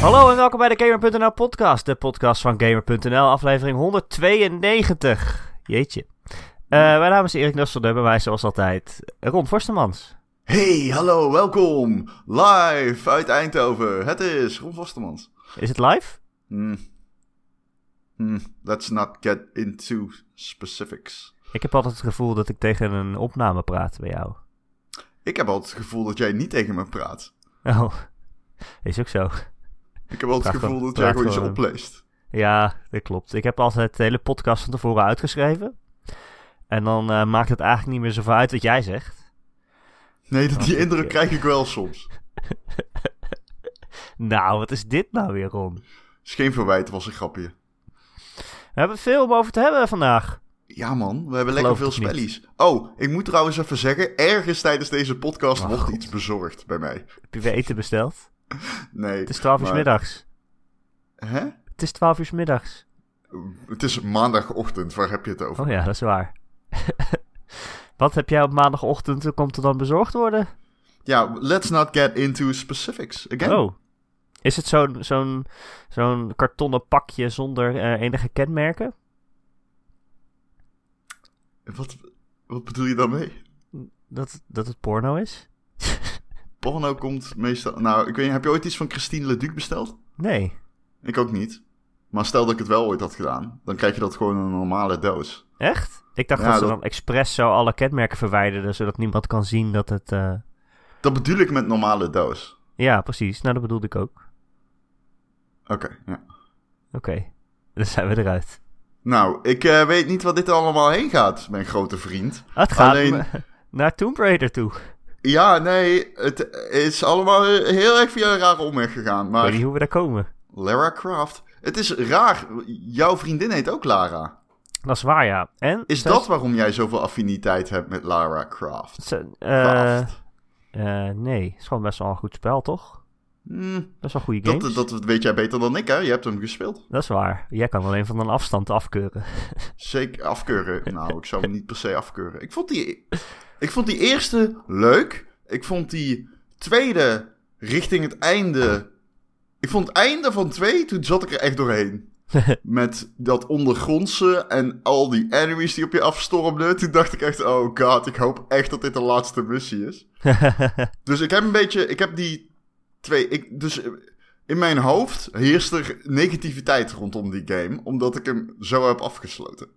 Hallo en welkom bij de Gamer.nl podcast, de podcast van Gamer.nl, aflevering 192. Jeetje. Eh, mijn naam is Erik Nusselder, bij mij zoals altijd Ron Forstemans. Hey, hallo, welkom. Live uit Eindhoven. Het is Ron Vostermans. Is het live? Hmm. Hmm, Let's not get into specifics. Ik heb altijd het gevoel dat ik tegen een opname praat bij jou. Ik heb altijd het gevoel dat jij niet tegen me praat. Oh, is ook zo. Ik heb altijd Praat het gevoel gewoon- dat praat jij gewoon iets gewoon. opleest. Ja, dat klopt. Ik heb altijd de hele podcast van tevoren uitgeschreven. En dan eh, maakt het eigenlijk niet meer zoveel uit wat jij zegt. Nee, dat, Oh, die oké. indruk krijg ik wel soms. Nou, wat is dit nou weer, Ron? Is geen verwijt, was een grapje. We hebben veel om over te hebben vandaag. Ja man, we hebben Geloof lekker veel het niet. spellies. Oh, ik moet trouwens even zeggen, ergens tijdens deze podcast Oh, wordt God. iets bezorgd bij mij. Heb je weer eten besteld? Nee. Het is 12 uur maar- middags. Hè? Het is 12 uur middags. Het is maandagochtend, waar heb je het over? Oh ja, dat is waar. Wat heb jij op maandagochtend? Hoe Komt er dan bezorgd worden? Ja, let's not get into specifics again. Oh. Is het zo'n zo'n zo'n kartonnen pakje zonder eh, enige kenmerken? Wat, wat bedoel je daarmee? Dat, dat het porno is? Porno komt meestal... Nou, ik weet niet, heb je ooit iets van Christine Leduc besteld? Nee. Ik ook niet. Maar stel dat ik het wel ooit had gedaan, dan krijg je dat gewoon in een normale doos. Echt? Ik dacht Ja, dat ze dat- dan expres zo alle kenmerken verwijderden, zodat niemand kan zien dat het... eh, Dat bedoel ik met normale doos. Ja, precies. Nou, dat bedoelde ik ook. Oké, ja. Oké. Dan zijn we eruit. Nou, ik eh, weet niet wat dit allemaal heen gaat, mijn grote vriend. Ah, Het gaat Alleen- me- naar Tomb Raider toe. Ja, nee, het is allemaal heel erg via een rare omweg gegaan. Ik weet Maar niet hoe we daar komen. Lara Croft, het is raar. Jouw vriendin heet ook Lara. Dat is waar, ja. En... Is dat waarom jij zoveel affiniteit hebt met Lara Croft? Ze- eh, Croft. Eh, nee, is gewoon best wel een goed spel, toch? Hmm, Best wel goede games. dat, Dat, dat weet jij beter dan ik, hè? Je hebt hem gespeeld. is waar. Jij kan alleen van een afstand afkeuren. Zeker afkeuren. Nou, ik zou hem niet per se afkeuren. Ik vond die, ik vond die eerste leuk. Ik vond die tweede richting het einde. Ik vond het einde van twee, toen zat ik er echt doorheen. Met dat ondergrondse en al die enemies die op je afstormden. Toen dacht ik echt, oh god, ik hoop echt dat dit de laatste missie is. Dus ik heb een beetje, ik heb die twee, ik, dus eh, in mijn hoofd heerst er negativiteit rondom die game, omdat ik hem zo heb afgesloten.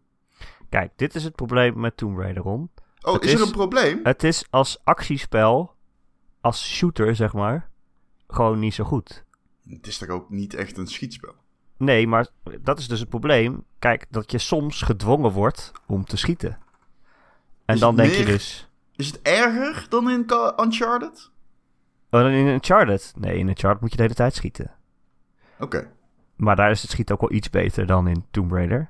Kijk, dit is het probleem met Tomb Raider om. Oh, Het is, er is- een probleem? Het is als actiespel, als shooter zeg maar, gewoon niet zo goed. Het is toch ook niet echt een schietspel? Nee, maar dat is dus het probleem. Kijk, dat je soms gedwongen wordt om te schieten. En Is dan het denk je meer- dus... Is het erger dan in Ca- Uncharted? Oh, dan in Uncharted? Nee, in Uncharted moet je de hele tijd schieten. Oké, Maar daar is het schieten ook wel iets beter dan in Tomb Raider.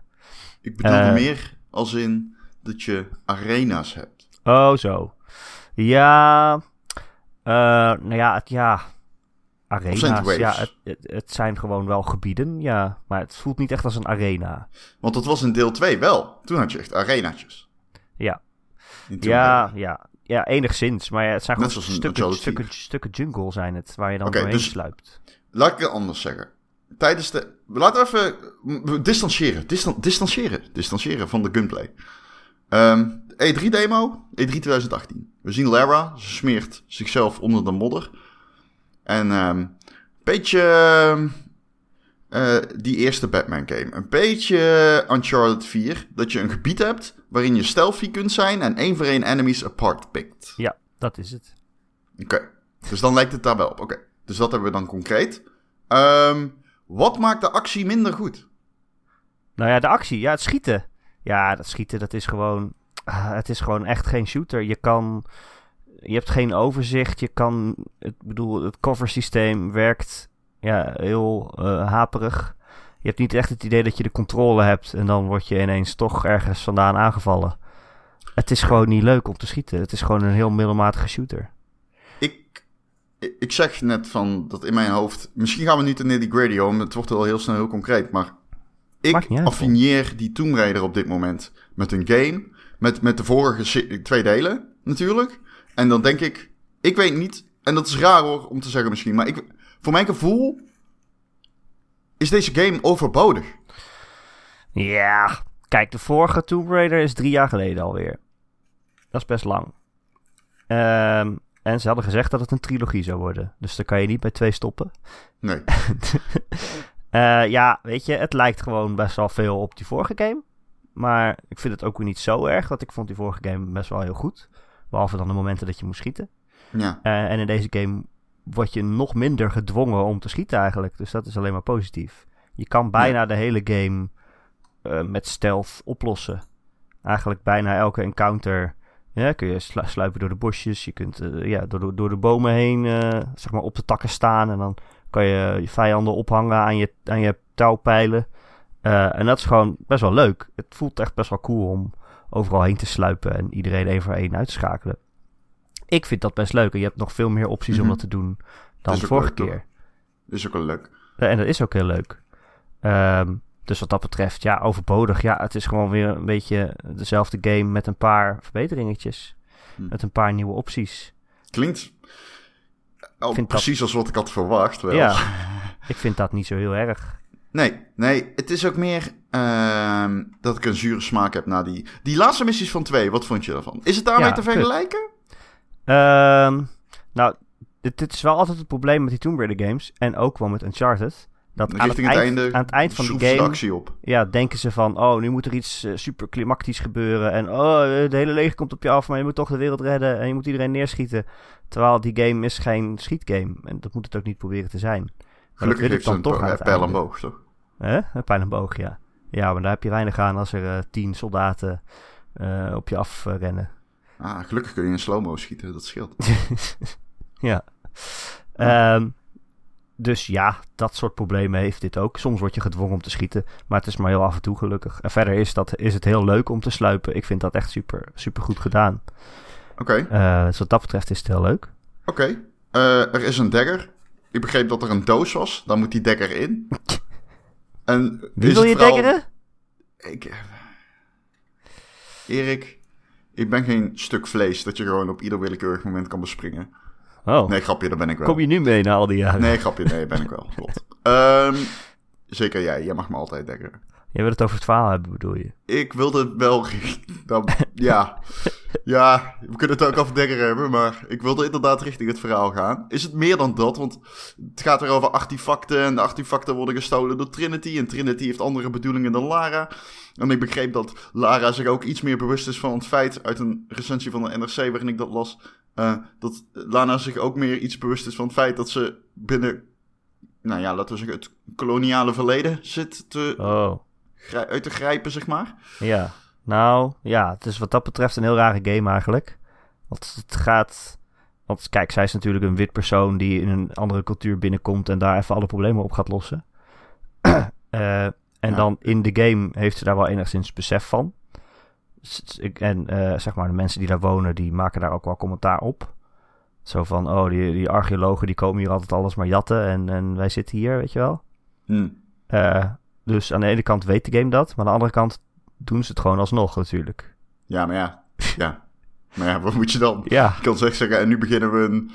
ik bedoelde Eh. meer als in dat je arena's hebt. Oh, zo. Ja. eh, nou ja, het, ja. Arena's. zijn het waves? ja, het, het, het zijn gewoon wel gebieden, ja. Maar het voelt niet echt als een arena. Want dat was in deel 2 wel. Toen had je echt arenaatjes. Ja. In Tomb Raider. Ja, ja. Ja, enigszins. Maar ja, het zijn Net gewoon zoals een stukken, Uncharted stukken, stukken jungle zijn het, waar je dan Oké, doorheen dus- sluipt. Laat ik het anders zeggen. Tijdens de. Laten we even. m- Distancieren. Distan- distancieren. Distancieren van de gunplay. Ehm, E3-demo. E3 2018. We zien Lara. Ze smeert zichzelf onder de modder. En. ehm, een beetje. ehm, eh, die eerste Batman-game. Een beetje Uncharted 4. Dat je een gebied hebt. waarin je stealthy kunt zijn. en één voor één enemies apart pikt. Ja, dat is het. Oké. Dus dan lijkt het daar wel op. Oké. Dus dat hebben we dan concreet. Ehm, wat maakt de actie minder goed? Nou ja, de actie. Ja, het schieten. Ja, dat schieten, dat is gewoon... ah, het is gewoon echt geen shooter. Je kan... Je hebt geen overzicht. Je kan... Ik bedoel, het coversysteem werkt ja, heel eh, haperig. Je hebt niet echt het idee dat je de controle hebt... en dan word je ineens toch ergens vandaan aangevallen. Het is gewoon niet leuk om te schieten. Het is gewoon een heel middelmatige shooter. Ik, ik zeg net van dat in mijn hoofd. Misschien gaan we niet naar die Grady om. Het wordt wel heel snel heel concreet. Maar Maakt ik niet uit, affineer die Tomb Raider op dit moment met een game. Met, met de vorige se- twee delen natuurlijk. En dan denk ik. Ik weet niet. En dat is raar hoor om te zeggen misschien. Maar ik, voor mijn gevoel is deze game overbodig. Ja, kijk, de vorige Tomb Raider is drie jaar geleden alweer. Dat is best lang. Ehm, en ze hadden gezegd dat het een trilogie zou worden. Dus daar kan je niet bij twee stoppen. Nee. Eh, ja, weet je, het lijkt gewoon best wel veel op die vorige game. Maar ik vind het ook weer niet zo erg, want ik vond die vorige game best wel heel goed. Behalve dan de momenten dat je moest schieten. Ja. Eh, en in deze game word je nog minder gedwongen om te schieten eigenlijk. Dus dat is alleen maar positief. Je kan bijna de hele game eh, met stealth oplossen. Eigenlijk bijna elke encounter ja, kun je slu- sluipen door de bosjes. Je kunt eh, ja, door, de- door de bomen heen eh, zeg maar op de takken staan. En dan kan je je vijanden ophangen aan je, aan je touwpijlen. Eh, en dat is gewoon best wel leuk. Het voelt echt best wel cool om overal heen te sluipen en iedereen één voor één uit te schakelen. Ik vind dat best leuk. En je hebt nog veel meer opties Mhm. om dat te doen dan is de ook vorige leuk, toch? keer. Is ook wel leuk. Ja, En dat is ook heel leuk. Ehm, dus wat dat betreft, ja, overbodig. Ja, het is gewoon weer een beetje dezelfde game met een paar verbeteringetjes. Hm. Met een paar nieuwe opties. Klinkt al vind dat- precies als wat ik had verwacht. Wel. Ja. Ik vind dat niet zo heel erg. Nee, nee, het is ook meer ehm, dat ik een zure smaak heb na die... Die laatste missies van twee, wat vond je daarvan? Is het daarmee Ja, te kut. vergelijken? Ehm, nou, dit, dit is wel altijd het probleem met die Tomb Raider games. En ook wel met Uncharted. Dat aan het, Richting het eind, einde aan het eind van die Schroef ze de game actie op. ja, denken ze van... Oh, nu moet er iets eh, super klimactisch gebeuren. En oh, eh, de hele leger komt op je af. Maar je moet toch de wereld redden. En je moet iedereen neerschieten. Terwijl die game is geen schietgame. En dat moet het ook niet proberen te zijn. Maar dat wil Gelukkig ik heeft ze dan een toch pa- aan eh, het pijl en einde. boog, toch? Hè? Een pijl en boog, ja. Ja, maar daar heb je weinig aan als er eh, tien soldaten eh, op je afrennen. Ah, gelukkig kun je in slow-mo schieten, dat scheelt. ja. Ehm, dus ja, dat soort problemen heeft dit ook. Soms word je gedwongen om te schieten, maar het is maar heel af en toe gelukkig. En verder is, dat, is het heel leuk om te sluipen. Ik vind dat echt super, super goed gedaan. Oké, Eh, dus wat dat betreft is het heel leuk. oké. Eh, er is een dagger. Ik begreep dat er een doos was. Daar moet die dagger in. En Wie is wil het je vooral- dekkeren? Ik... eh, Erik, ik ben geen stuk vlees dat je gewoon op ieder willekeurig moment kan bespringen. Oh, Nee, grapje, daar ben ik wel. kom je nu mee na al die jaren? Nee, grapje, nee, ben ik wel. Klopt. Ehm, zeker jij, jij mag me altijd dekkeren. Je wil het over het verhaal hebben, bedoel je? Ik wilde wel... richt- dan- ja. ja, we kunnen het ook over dekkeren hebben, maar ik wilde inderdaad richting het verhaal gaan. Is het meer dan dat? Want het gaat er over artefacten en de artefacten worden gestolen door Trinity. En Trinity heeft andere bedoelingen dan Lara. En ik begreep dat Lara zich ook iets meer bewust is van het feit uit een recensie van de NRC waarin ik dat las. eh, dat Lara zich ook meer iets bewust is van het feit dat ze binnen, nou ja, laten we zeggen, het koloniale verleden zit te, Oh, grij- uit te grijpen, zeg maar. ja. Nou, ja, het is wat dat betreft een heel rare game eigenlijk. Want het gaat... Want kijk, zij is natuurlijk een wit persoon die in een andere cultuur binnenkomt en daar even alle problemen op gaat lossen. Eh, en Ja. dan in de game heeft ze daar wel enigszins besef van. S- s- ik- En eh, zeg maar, de mensen die daar wonen, die maken daar ook wel commentaar op. Zo van, oh, die, die archeologen die komen hier altijd alles maar jatten en, en wij zitten hier, weet je wel. Hm. Eh, dus aan de ene kant weet de game dat, maar aan de andere kant doen ze het gewoon alsnog natuurlijk. Ja, maar ja. ja. Maar ja, wat moet je dan? Ja, Ik kan zeg zeggen, en nu beginnen we een,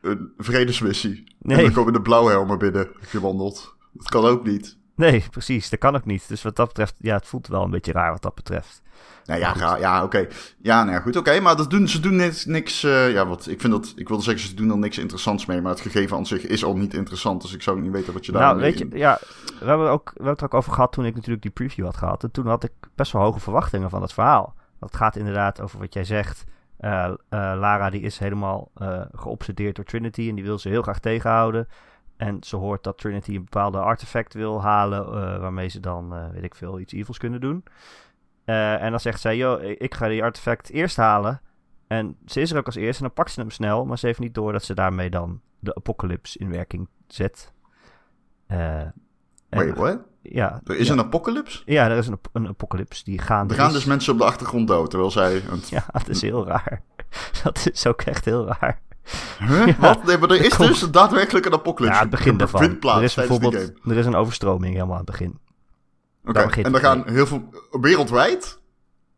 een vredesmissie. En nee, dan komen de blauwhelmen binnen, gewandeld. Dat kan ook niet. nee, precies, dat kan ook niet. Dus wat dat betreft, ja, het voelt wel een beetje raar wat dat betreft. Nou ja, ga, ja oké. Ja, nou ja, goed, oké. maar dat doen, ze doen niks... niks eh, ja, wat, ik vind dat... Ik wilde zeggen, ze doen er niks interessants mee. Maar het gegeven aan zich is al niet interessant. Dus ik zou ook niet weten wat je daar nou, mee weet je, in- ja, we hebben, ook, we hebben het er ook over gehad toen ik natuurlijk die preview had gehad. En toen had ik best wel hoge verwachtingen van dat verhaal. Dat gaat inderdaad over wat jij zegt. Eh, eh, Lara die is helemaal eh, geobsedeerd door Trinity en die wil ze heel graag tegenhouden. En ze hoort dat Trinity een bepaalde artefact wil halen, eh, waarmee ze dan, eh, weet ik veel, iets evils kunnen doen. Eh, en dan zegt zij, yo, ik ga die artefact eerst halen. En ze is er ook als eerste en dan pakt ze hem snel, maar ze heeft niet door dat ze daarmee dan de apocalypse in werking zet. Eh, en- Wait, what? Ja, Er is ja. een apocalypse? Ja, er is een, ap- een apocalypse die gaande Er gaan is. dus mensen op de achtergrond dood, terwijl zij... Een... Ja, dat is heel raar. Dat is ook echt heel raar. Huh? Ja. Wat? Nee, maar er is Er komt- dus daadwerkelijk een apocalypse. Ja, het begin Er daarvan. vindt plaats Er is tijdens die bijvoorbeeld er is een overstroming helemaal aan het begin. game. Oké, daar begint en er het gaan heel veel... Wereldwijd?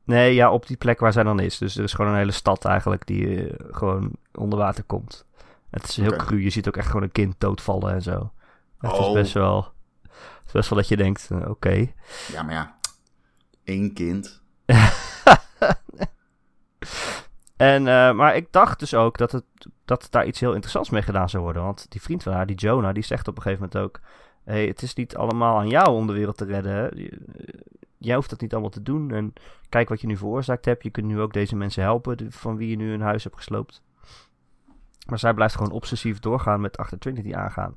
Nee, ja, op die plek waar zij dan is. Dus er is gewoon een hele stad eigenlijk die eh, gewoon onder water komt. Het is heel Oké. cru. Je ziet ook echt gewoon een kind doodvallen en zo. Het is Oh. best wel... is best wel dat je denkt, eh, oké. Ja, maar ja. Eén kind. En, eh, maar ik dacht dus ook dat, het, dat daar iets heel interessants mee gedaan zou worden. Want die vriend van haar, die Jonah, die zegt op een gegeven moment ook... hey, het is niet allemaal aan jou om de wereld te redden. hè. Je- eh, Jij hoeft dat niet allemaal te doen. En kijk wat je nu veroorzaakt hebt. Je kunt nu ook deze mensen helpen de- van wie je nu een huis hebt gesloopt. Maar zij blijft gewoon obsessief doorgaan met achter Trinity aangaan.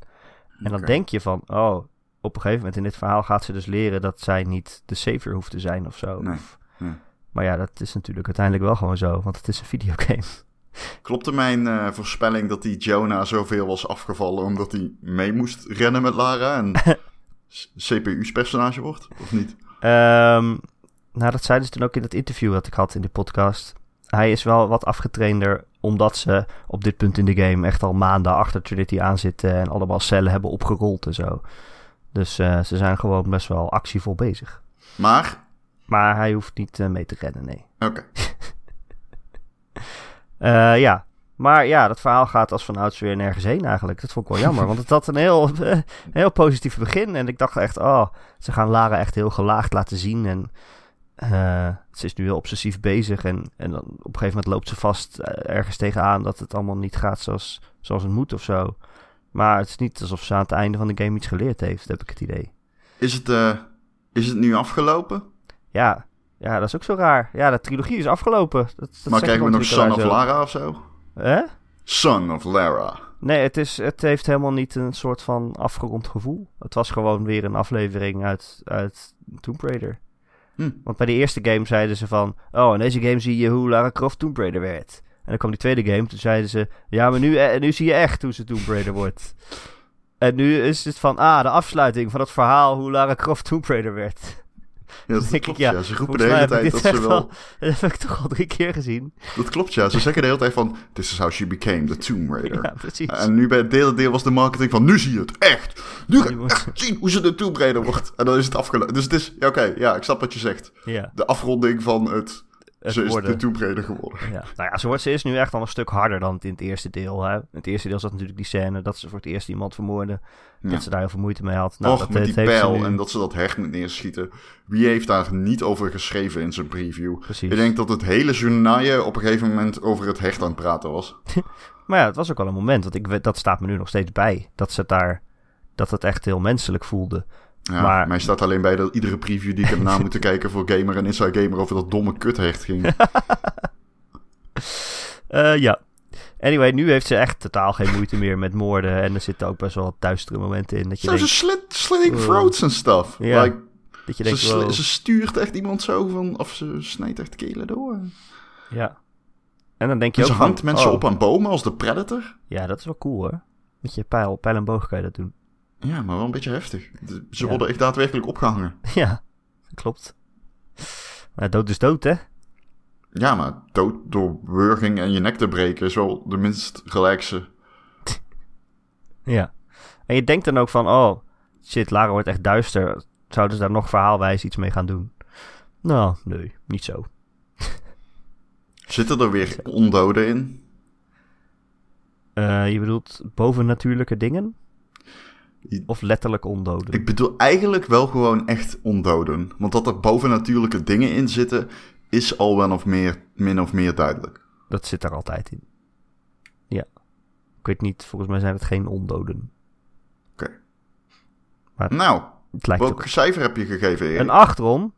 En dan Oké. denk je van, oh, op een gegeven moment in dit verhaal gaat ze dus leren dat zij niet de savior hoeft te zijn of zo. Nee, nee. Maar ja, dat is natuurlijk uiteindelijk wel gewoon zo, want het is een videogame. Klopte mijn eh, voorspelling dat die Jonah zoveel was afgevallen omdat hij mee moest rennen met Lara en s- CPU's personage wordt? Of niet? Ehm, nou, dat zeiden ze toen ook in het interview dat ik had in de podcast. Hij is wel wat afgetrainder, omdat ze op dit punt in de game echt al maanden achter Trinity aan zitten en allemaal cellen hebben opgerold en zo. Dus eh, ze zijn gewoon best wel actievol bezig. Maar, Maar hij hoeft niet eh, mee te rennen, nee. oké. Eh, ja. Maar ja, dat verhaal gaat als vanouds weer nergens heen eigenlijk. Dat vond ik wel jammer, want het had een heel, een heel positief begin. En ik dacht echt, oh, ze gaan Lara echt heel gelaagd laten zien. En eh, ze is nu heel obsessief bezig. En, en dan op een gegeven moment loopt ze vast eh, ergens tegenaan dat het allemaal niet gaat zoals, zoals het moet of zo. Maar het is niet alsof ze aan het einde van de game iets geleerd heeft, heb ik het idee. Is, het, eh, is het nu afgelopen? Ja, ja dat is ook zo raar. Ja, de trilogie is afgelopen. Dat, dat maar zeggen krijgen we nog Son natuurlijk of al zo. Lara of zo? Hè? Son of Lara. Nee, het, is, het heeft helemaal niet een soort van afgerond gevoel. Het was gewoon weer een aflevering uit, uit Tomb Raider. Hm. Want bij de eerste game zeiden ze van... Oh, in deze game zie je hoe Lara Croft Tomb Raider werd. En dan kwam die tweede game, toen zeiden ze... Ja, maar nu, eh, nu zie je echt hoe ze Tomb Raider wordt. En nu is het van... Ah, de afsluiting van het verhaal hoe Lara Croft Tomb Raider werd. Ja, dat Denk ik, klopt, ja. ja. Ze roepen de Volgens mij hele heb ik tijd dat dit ze echt al- wel... Dat heb ik toch al drie keer gezien. Dat klopt, ja. Ze zeggen de hele tijd van... This is how she became the Tomb Raider. Ja, precies. En nu bij het derde deel was de marketing van... Nu zie je het echt! Nu ga Nu je wordt- echt zien hoe ze de Tomb Raider wordt. En dan is het afgelopen. Dus het is... Ja, oké. ja, ik snap wat je zegt. Ja, De afronding van het... het ze is worden. de Tomb Raider geworden. Ja. Nou ja, ze, wordt, ze is nu echt al een stuk harder dan in het eerste deel. Hè? In het eerste deel zat natuurlijk die scène dat ze voor het eerst iemand vermoordde. Ja. Dat ze daar heel veel moeite mee had. Nou, Och, dat, met dat die heeft ze pijl nu- en dat ze dat hert moet neerschieten. Wie heeft daar niet over geschreven in zijn preview? Precies. Ik denk dat het hele journaal op een gegeven moment over het hecht aan het praten was. Maar ja, het was ook al een moment. Want ik, weet- dat staat me nu nog steeds bij. Dat ze het daar... Dat het echt heel menselijk voelde. Ja, Maar- maar... Mij staat alleen bij dat iedere preview die ik heb na moeten kijken voor Gamer en Inside Gamer over dat domme kuthecht ging. Eh, ja. Anyway, nu heeft ze echt totaal geen moeite meer met moorden. En er zitten ook best wel wat duistere momenten in. Dat je Zo, ze denkt... slit, slitting Oh. throats en stuff. Ja, Like, Dat je ze, denkt sli- wow. ze stuurt echt iemand zo van, of ze snijdt echt kelen door. Ja. En dan denk je En ze ook van, hangt mensen oh, op aan bomen als de Predator. Ja, dat is wel cool hoor. Met je pijl, pijl en boog kan je dat doen. Ja, maar wel een beetje heftig. De- Ze Ja. worden echt daadwerkelijk opgehangen. Ja, klopt. Nou, dood is dood, hè? Ja, maar dood door wurging en je nek te breken is wel de minst relaxe. Ja. En je denkt dan ook van, oh, shit, Lara wordt echt duister. Zouden ze daar nog verhaalwijs iets mee gaan doen? Nou, nee, niet zo. Zitten er weer ondoden in? Eh, je bedoelt bovennatuurlijke dingen? I- Of letterlijk ondoden? Ik bedoel eigenlijk wel gewoon echt ondoden. Want dat er bovennatuurlijke dingen in zitten, is al wel of meer, min of meer duidelijk. Dat zit er altijd in. Ja. Ik weet niet, volgens mij zijn het geen ondoden. Oké. Maar- Nou, Het lijkt welk erop. cijfer heb je gegeven, Erik? Een Oké. 8 Ron.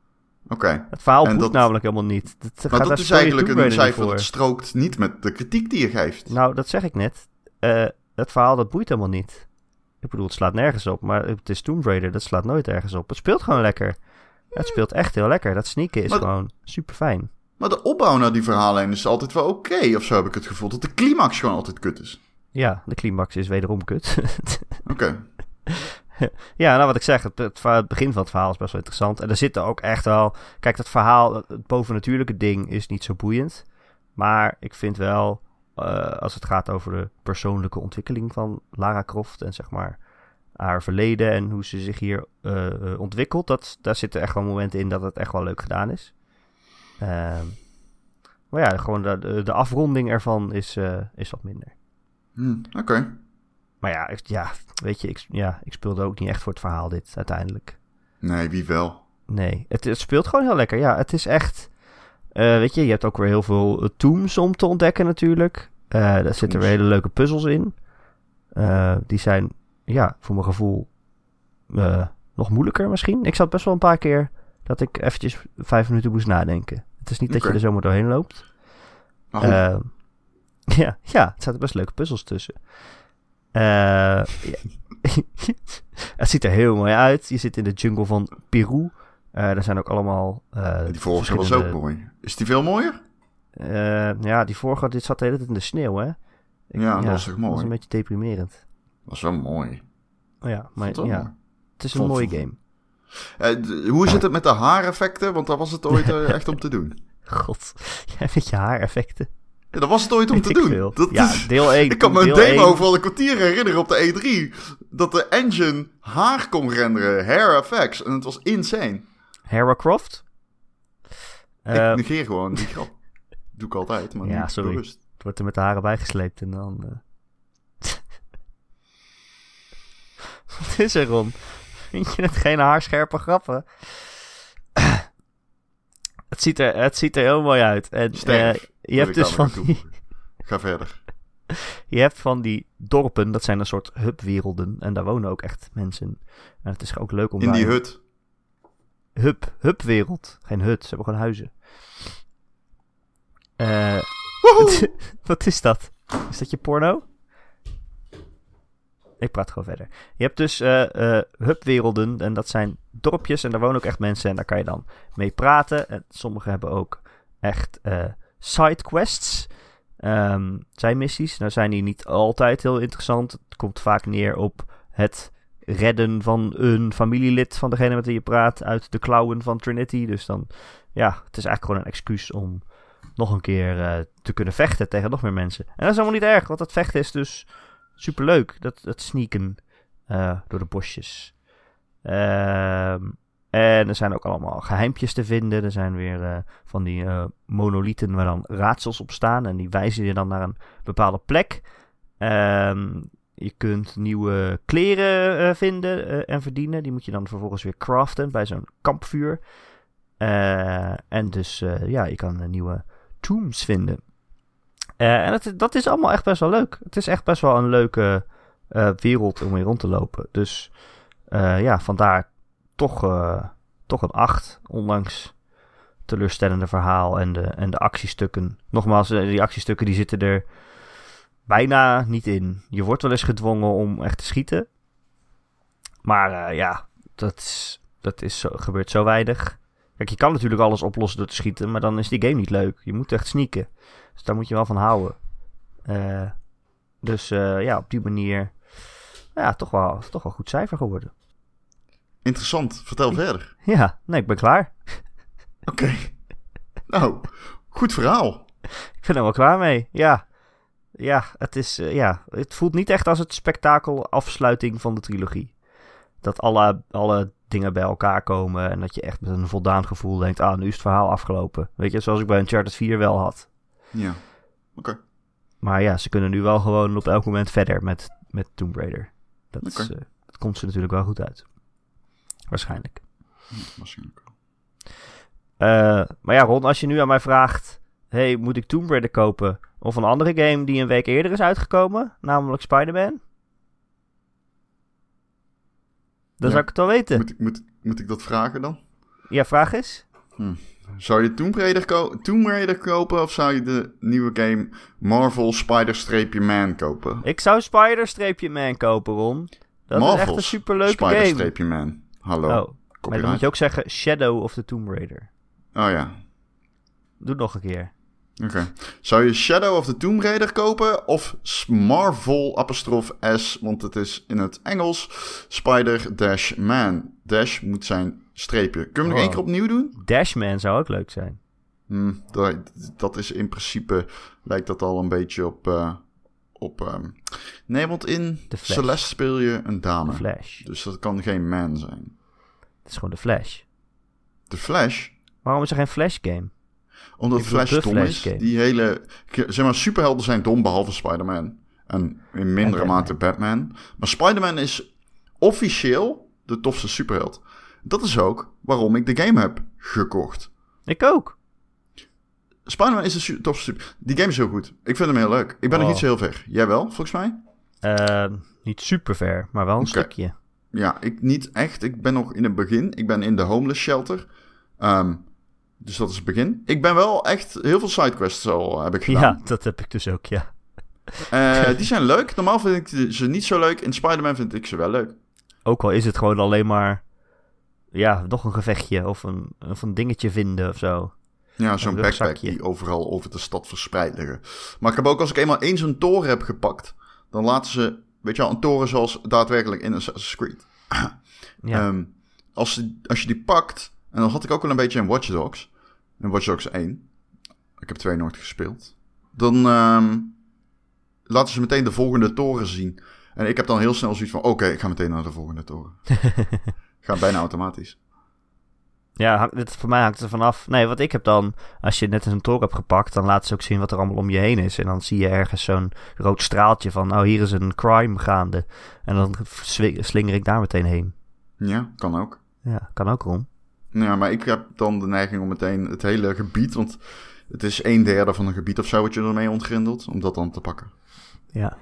Het verhaal En boeit dat- namelijk helemaal niet. Dat, gaat Maar daar dat is Story eigenlijk Tomb Raider een niet cijfer voor. dat strookt niet met de kritiek die je geeft. Nou, dat zeg ik net. Eh, het verhaal dat boeit helemaal niet. Ik bedoel, het slaat nergens op. Maar het is Tomb Raider, dat slaat nooit ergens op. Het speelt gewoon lekker. Het speelt echt heel lekker. Dat sneaken is Maar- gewoon super fijn. Maar de opbouw naar die verhaallijn is altijd wel oké. of zo heb ik het gevoel dat de climax gewoon altijd kut is. Ja, de climax is wederom kut. Oké. ja, nou wat ik zeg, het, het, verhaal- het begin van het verhaal is best wel interessant. En er zitten ook echt wel... Kijk, dat verhaal, het bovennatuurlijke ding is niet zo boeiend. Maar ik vind wel, eh, als het gaat over de persoonlijke ontwikkeling van Lara Croft... en zeg maar haar verleden en hoe ze zich hier eh, eh, ontwikkelt... Dat, daar zitten echt wel momenten in dat het echt wel leuk gedaan is. Ehm, maar ja, gewoon de, de, de afronding ervan is, eh, is wat minder. Hm, Oké. Maar ja, ik- ja weet je, ik, ja, ik speelde ook niet echt voor het verhaal dit uiteindelijk. Nee, wie wel? Nee, het, het speelt gewoon heel lekker. Ja, het is echt... eh, weet je, je hebt ook weer heel veel eh, tombs om te ontdekken natuurlijk. Eh daar zitten weer Tombs. hele leuke puzzels in. Eh, die zijn, ja, voor mijn gevoel eh, nog moeilijker misschien. Ik zat best wel een paar keer dat ik eventjes vijf minuten moest nadenken. Het is niet dat je Oké. er zomaar doorheen loopt. Maar goed, Eh, ja, ja, het zaten best leuke puzzels tussen. Eh, ja. het ziet er heel mooi uit. Je zit in de jungle van Peru. Eh daar zijn ook allemaal. eh, die vorige was ook verschillende- mooi. Is die veel mooier? Eh, ja, die vorige dit zat de hele tijd in de sneeuw, hè? Ik- Ja, dat was toch Dat was mooi? een beetje deprimerend. was wel mooi. Oh ja, Vond maar wel mooi. ja, het is een Vond- mooie vond- game. Eh, d- hoe zit het met de haareffecten? Want daar was het ooit eh, echt om te doen. God, jij met je haareffecten. Ja, daar was het ooit om Weet te ik doen. veel. Dat ja, is- deel 1. ik kan me een deel demo 1. van een kwartier herinneren op de E3. Dat de engine haar kon renderen. Hair effects. En het was insane. Hera Croft. Eh, ik negeer gewoon die grap. Doe ik altijd, maar Ja, niet sorry. bewust. Het wordt er met de haren bijgesleept en dan. eh. Wat is er om? Vind je het geen haarscherpe grappen? het, ziet er, het ziet er heel mooi uit. En, Sterf, eh, wil je, hebt ik dus daar nog van aan die, toevoegen. Ga verder. je hebt van die dorpen, dat zijn een soort hubwerelden. En daar wonen ook echt mensen. En het is ook leuk om In daar die een hut. hub, hubwereld. Geen hut, ze hebben gewoon huizen. Eh, Woehoe! Wat is dat? Is dat je porno? Ik praat gewoon verder. Je hebt dus eh, eh, hubwerelden en dat zijn dorpjes en daar wonen ook echt mensen en daar kan je dan mee praten. En sommigen hebben ook echt eh, sidequests, ehm, zijn missies. Nou zijn die niet altijd heel interessant. Het komt vaak neer op het redden van een familielid van degene met wie je praat uit de klauwen van Trinity. Dus dan, ja, het is eigenlijk gewoon een excuus om nog een keer eh, te kunnen vechten tegen nog meer mensen. En dat is helemaal niet erg, want dat vechten is dus superleuk. Dat, dat sneaken eh, door de bosjes. Ehm, en er zijn ook allemaal geheimpjes te vinden. Er zijn weer eh, van die eh, monolieten waar dan raadsels op staan. En die wijzen je dan naar een bepaalde plek. Ehm, je kunt nieuwe kleren eh, vinden eh, en verdienen. Die moet je dan vervolgens weer craften bij zo'n kampvuur. Eh, en dus eh, ja, je kan eh, nieuwe tombs vinden. Eh, en het, dat is allemaal echt best wel leuk. Het is echt best wel een leuke eh, wereld om mee rond te lopen. Dus eh, ja, vandaar toch, eh, toch een 8. Ondanks teleurstellende verhaal en de, en de actiestukken. Nogmaals, eh, die actiestukken die zitten er bijna niet in. Je wordt wel eens gedwongen om echt te schieten. Maar eh, ja, dat, is, dat is zo, gebeurt zo weinig. Kijk, je kan natuurlijk alles oplossen door te schieten, maar dan is die game niet leuk. Je moet echt sneaken. Dus daar moet je wel van houden. Eh, dus eh, ja, op die manier ja, toch wel, toch wel een goed cijfer geworden. Interessant. Vertel verder. Ja, nee, ik ben klaar. Oké. Nou, goed verhaal. Ik ben er wel klaar mee. Ja. Ja, het is, eh, ja, het voelt niet echt als het spektakel afsluiting van de trilogie. Dat alle, alle dingen bij elkaar komen en dat je echt met een voldaan gevoel denkt, ah, nu is het verhaal afgelopen. Weet je, zoals ik bij Uncharted 4 wel had. Ja. Maar ja, ze kunnen nu wel gewoon op elk moment verder met, met Tomb Raider. Dat, is, Oké. eh, dat komt ze natuurlijk wel goed uit. Waarschijnlijk. Waarschijnlijk. wel. Eh, maar ja, Ron, als je nu aan mij vraagt: hey, moet ik Tomb Raider kopen? Of een andere game die een week eerder is uitgekomen, namelijk Spider-Man? Dan Ja. zou ik het wel weten. Moet, ik- moet, moet ik dat vragen dan? Ja, vraag is. Zou je Tomb Raider, ko- Tomb Raider kopen of zou je de nieuwe game Marvel Spider-Man kopen? Ik zou Spider-Man kopen, Ron. Dat is echt Marvel's een superleuke game. Spider-Man. Hallo. Oh, maar dan moet Copyright. je ook zeggen Shadow of the Tomb Raider. Oh ja. Doe het nog een keer. Oké. Zou je Shadow of the Tomb Raider kopen of S- Marvel apostrof S, want het is in het Engels Spider dash Man. Dash moet zijn streepje. Kunnen we nog Oh. één keer opnieuw doen? Dashman zou ook leuk zijn. Hm, dat, dat is in principe lijkt dat al een beetje op eh, op. ehm, nee, want in De Flash. Celeste speel je een De dame. Flash. Dus dat kan geen man zijn. Het is gewoon de Flash. De Flash Waarom is er geen Flash game? Omdat Ik bedoel, Flash de dom Flash is. game. Die hele... Zeg maar, superhelden zijn dom behalve Spider-Man. En in mindere En Batman. mate Batman. Maar Spider-Man is officieel de tofste superheld. Dat is ook waarom ik de game heb gekocht. Ik ook. Spider-Man is de su- tofste super... Die game is heel goed. Ik vind hem heel leuk. Ik ben nog Oh. niet zo heel ver. Jij wel, volgens mij? Ehm, niet super ver, maar wel een Oké. stukje. Ja, ik niet echt. Ik ben nog in het begin. Ik ben in de homeless shelter. Ehm, dus dat is het begin. Ik ben wel echt... Heel veel sidequests al heb ik gedaan. Ja, dat heb ik dus ook, ja. Eh, die zijn leuk. Normaal vind ik ze niet zo leuk. In Spider-Man vind ik ze wel leuk. Ook al is het gewoon alleen maar... Ja, nog een gevechtje of een, of een dingetje vinden of zo. Ja, zo'n Een backpack rugzakje. die overal over de stad verspreid liggen. Maar ik heb ook, als ik eenmaal eens een toren heb gepakt, dan laten ze, weet je wel, een toren zoals daadwerkelijk in Assassin's Creed. Ja, Ehm, als, ze- als je die pakt, en dan had ik ook wel een beetje in Watch Dogs, in Watch Dogs 1, ik heb 2 nooit gespeeld, dan ehm, laten ze meteen de volgende toren zien. En ik heb dan heel snel zoiets van, oké, ik ga meteen naar de volgende toren. Gaat bijna automatisch. ja hang- dit, voor mij hangt het er vanaf. Nee, wat ik heb dan... Als je net eens een toren hebt gepakt, dan laat ze ook zien wat er allemaal om je heen is. En dan zie je ergens zo'n rood straaltje van... Oh, hier is een crime gaande. En dan swi- slinger ik daar meteen heen. Ja, kan ook. Ja, kan ook om. Ja, maar ik heb dan de neiging om meteen het hele gebied, want het is een derde van een gebied of zo wat je ermee ontgrendelt, om dat dan te pakken. Ja.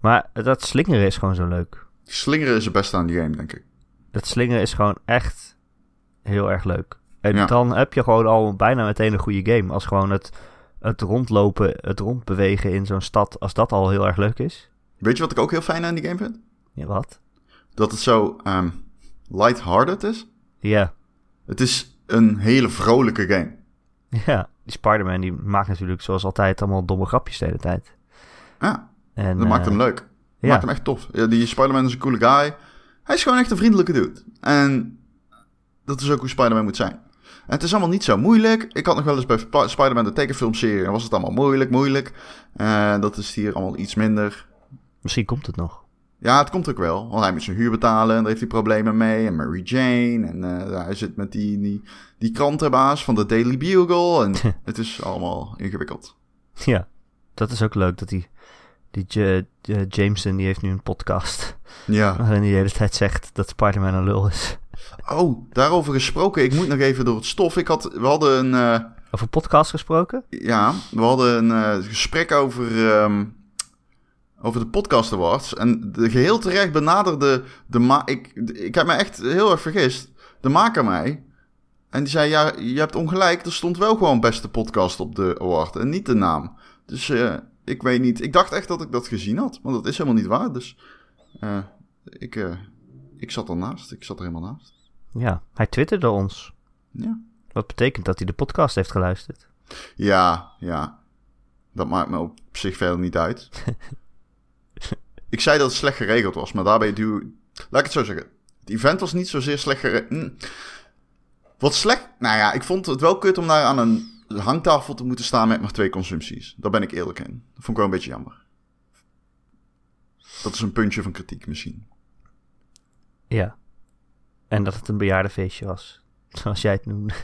Maar dat slingeren is gewoon zo leuk. Slingeren is het beste aan die game, denk ik. Dat slingeren is gewoon echt heel erg leuk. En Ja. dan heb je gewoon al bijna meteen een goede game. Als gewoon het, het rondlopen, het rondbewegen in zo'n stad, als dat al heel erg leuk is. Weet je wat ik ook heel fijn aan die game vind? Ja, wat? Dat het zo ehm lighthearted is. Ja. Het is een hele vrolijke game. Ja. Die Spider-Man die maakt natuurlijk zoals altijd allemaal domme grapjes de hele tijd. Ja, En, Ah, dat maakt eh, hem leuk. Dat ja. maakt hem echt tof. Ja, die Spider-Man is een coole guy. Hij is gewoon echt een vriendelijke dude. En dat is ook hoe Spider-Man moet zijn. En het is allemaal niet zo moeilijk. Ik had nog wel eens bij Sp- Spider-Man de tekenfilmserie en was het allemaal moeilijk, moeilijk. Eh, dat is hier allemaal iets minder. Misschien komt het nog. Ja, het komt ook wel. Want hij moet zijn huur betalen en daar heeft hij problemen mee. En Mary Jane. En eh, hij zit met die, die, die krantenbaas van de Daily Bugle. En het is allemaal ingewikkeld. Ja. Dat is ook leuk dat die, die J- J- Jameson die heeft nu een podcast. Ja. Waarin hij de hele tijd zegt dat Spider-Man een lul is. Oh, daarover gesproken. Ik moet nog even door het stof. Ik had, we hadden een... eh, Over podcast gesproken? Ja, we hadden een eh, gesprek over, ehm, over de Podcast Awards. En de, geheel terecht benaderde de ma ik, ik heb me echt heel erg vergist. De maker mij. En die zei, ja, je hebt ongelijk. Er stond wel gewoon beste podcast op de award. En niet de naam. Dus eh, ik weet niet. Ik dacht echt dat ik dat gezien had. Want dat is helemaal niet waar. Dus eh, ik, eh, ik zat ernaast. Ik zat er helemaal naast. Ja, hij twitterde ons. Ja. Wat betekent dat hij de podcast heeft geluisterd. Ja, ja. Dat maakt me op zich verder niet uit. ik zei dat het slecht geregeld was, maar daarbij doe... Laat ik het zo zeggen. Het event was niet zozeer slecht geregeld. Wat slecht... Nou ja, ik vond het wel kut om daar aan een hangtafel te moeten staan met maar twee consumpties. Daar ben ik eerlijk in. Dat vond ik wel een beetje jammer. Dat is een puntje van kritiek misschien. Ja. En dat het een bejaardenfeestje was. Zoals jij het noemde.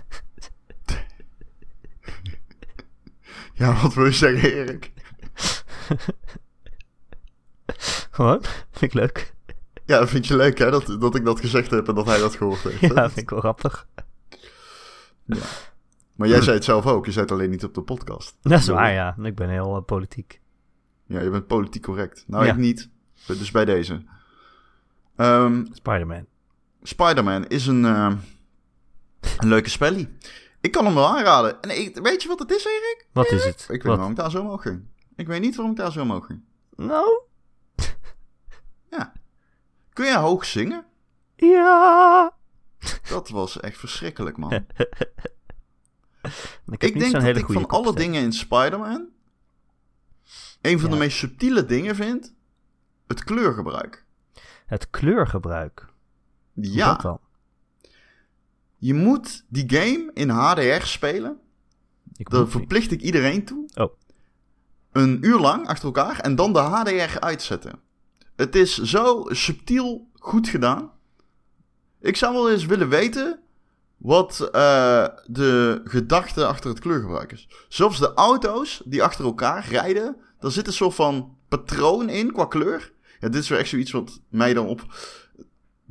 Ja, wat wil je zeggen, Erik? Gewoon? Vind ik leuk. Ja, dat vind je leuk hè, dat, dat ik dat gezegd heb en dat hij dat gehoord heeft. hè? Ja, vind ik wel grappig. Maar jij zei het zelf ook, je zei het alleen niet op de podcast. Mm. Dat is waar, ja. Ik ben heel eh, politiek. Ja, je bent politiek correct. Nou, Ja. ik niet. Dus bij deze. Ehm, Spider-Man. Spider-Man is een, ehm, een leuke spellie. Ik kan hem wel aanraden. En ik, weet je wat het is, Erik? Wat is het? Ik weet Wat? waarom ik daar zo omhoog ging. Ik weet niet waarom ik daar zo omhoog ging. Nou? Kun jij hoog zingen? Ja! Dat was echt verschrikkelijk, man. ik Ik, heb niet denk zo'n dat hele ik goede van alle kopstem. dingen in Spider-Man... een van Ja. de meest subtiele dingen vind... het kleurgebruik. Het kleurgebruik. Hoe Ja. Dat dan? Je moet die game in HDR spelen. Ik Daar moet niet- verplicht ik iedereen toe. Oh. Een uur lang achter elkaar en dan de HDR uitzetten. Het is zo subtiel goed gedaan. Ik zou wel eens willen weten wat eh, de gedachte achter het kleurgebruik is. Zelfs de auto's die achter elkaar rijden, Daar zit een soort van patroon in qua kleur. Ja, dit is weer echt zoiets wat mij dan op...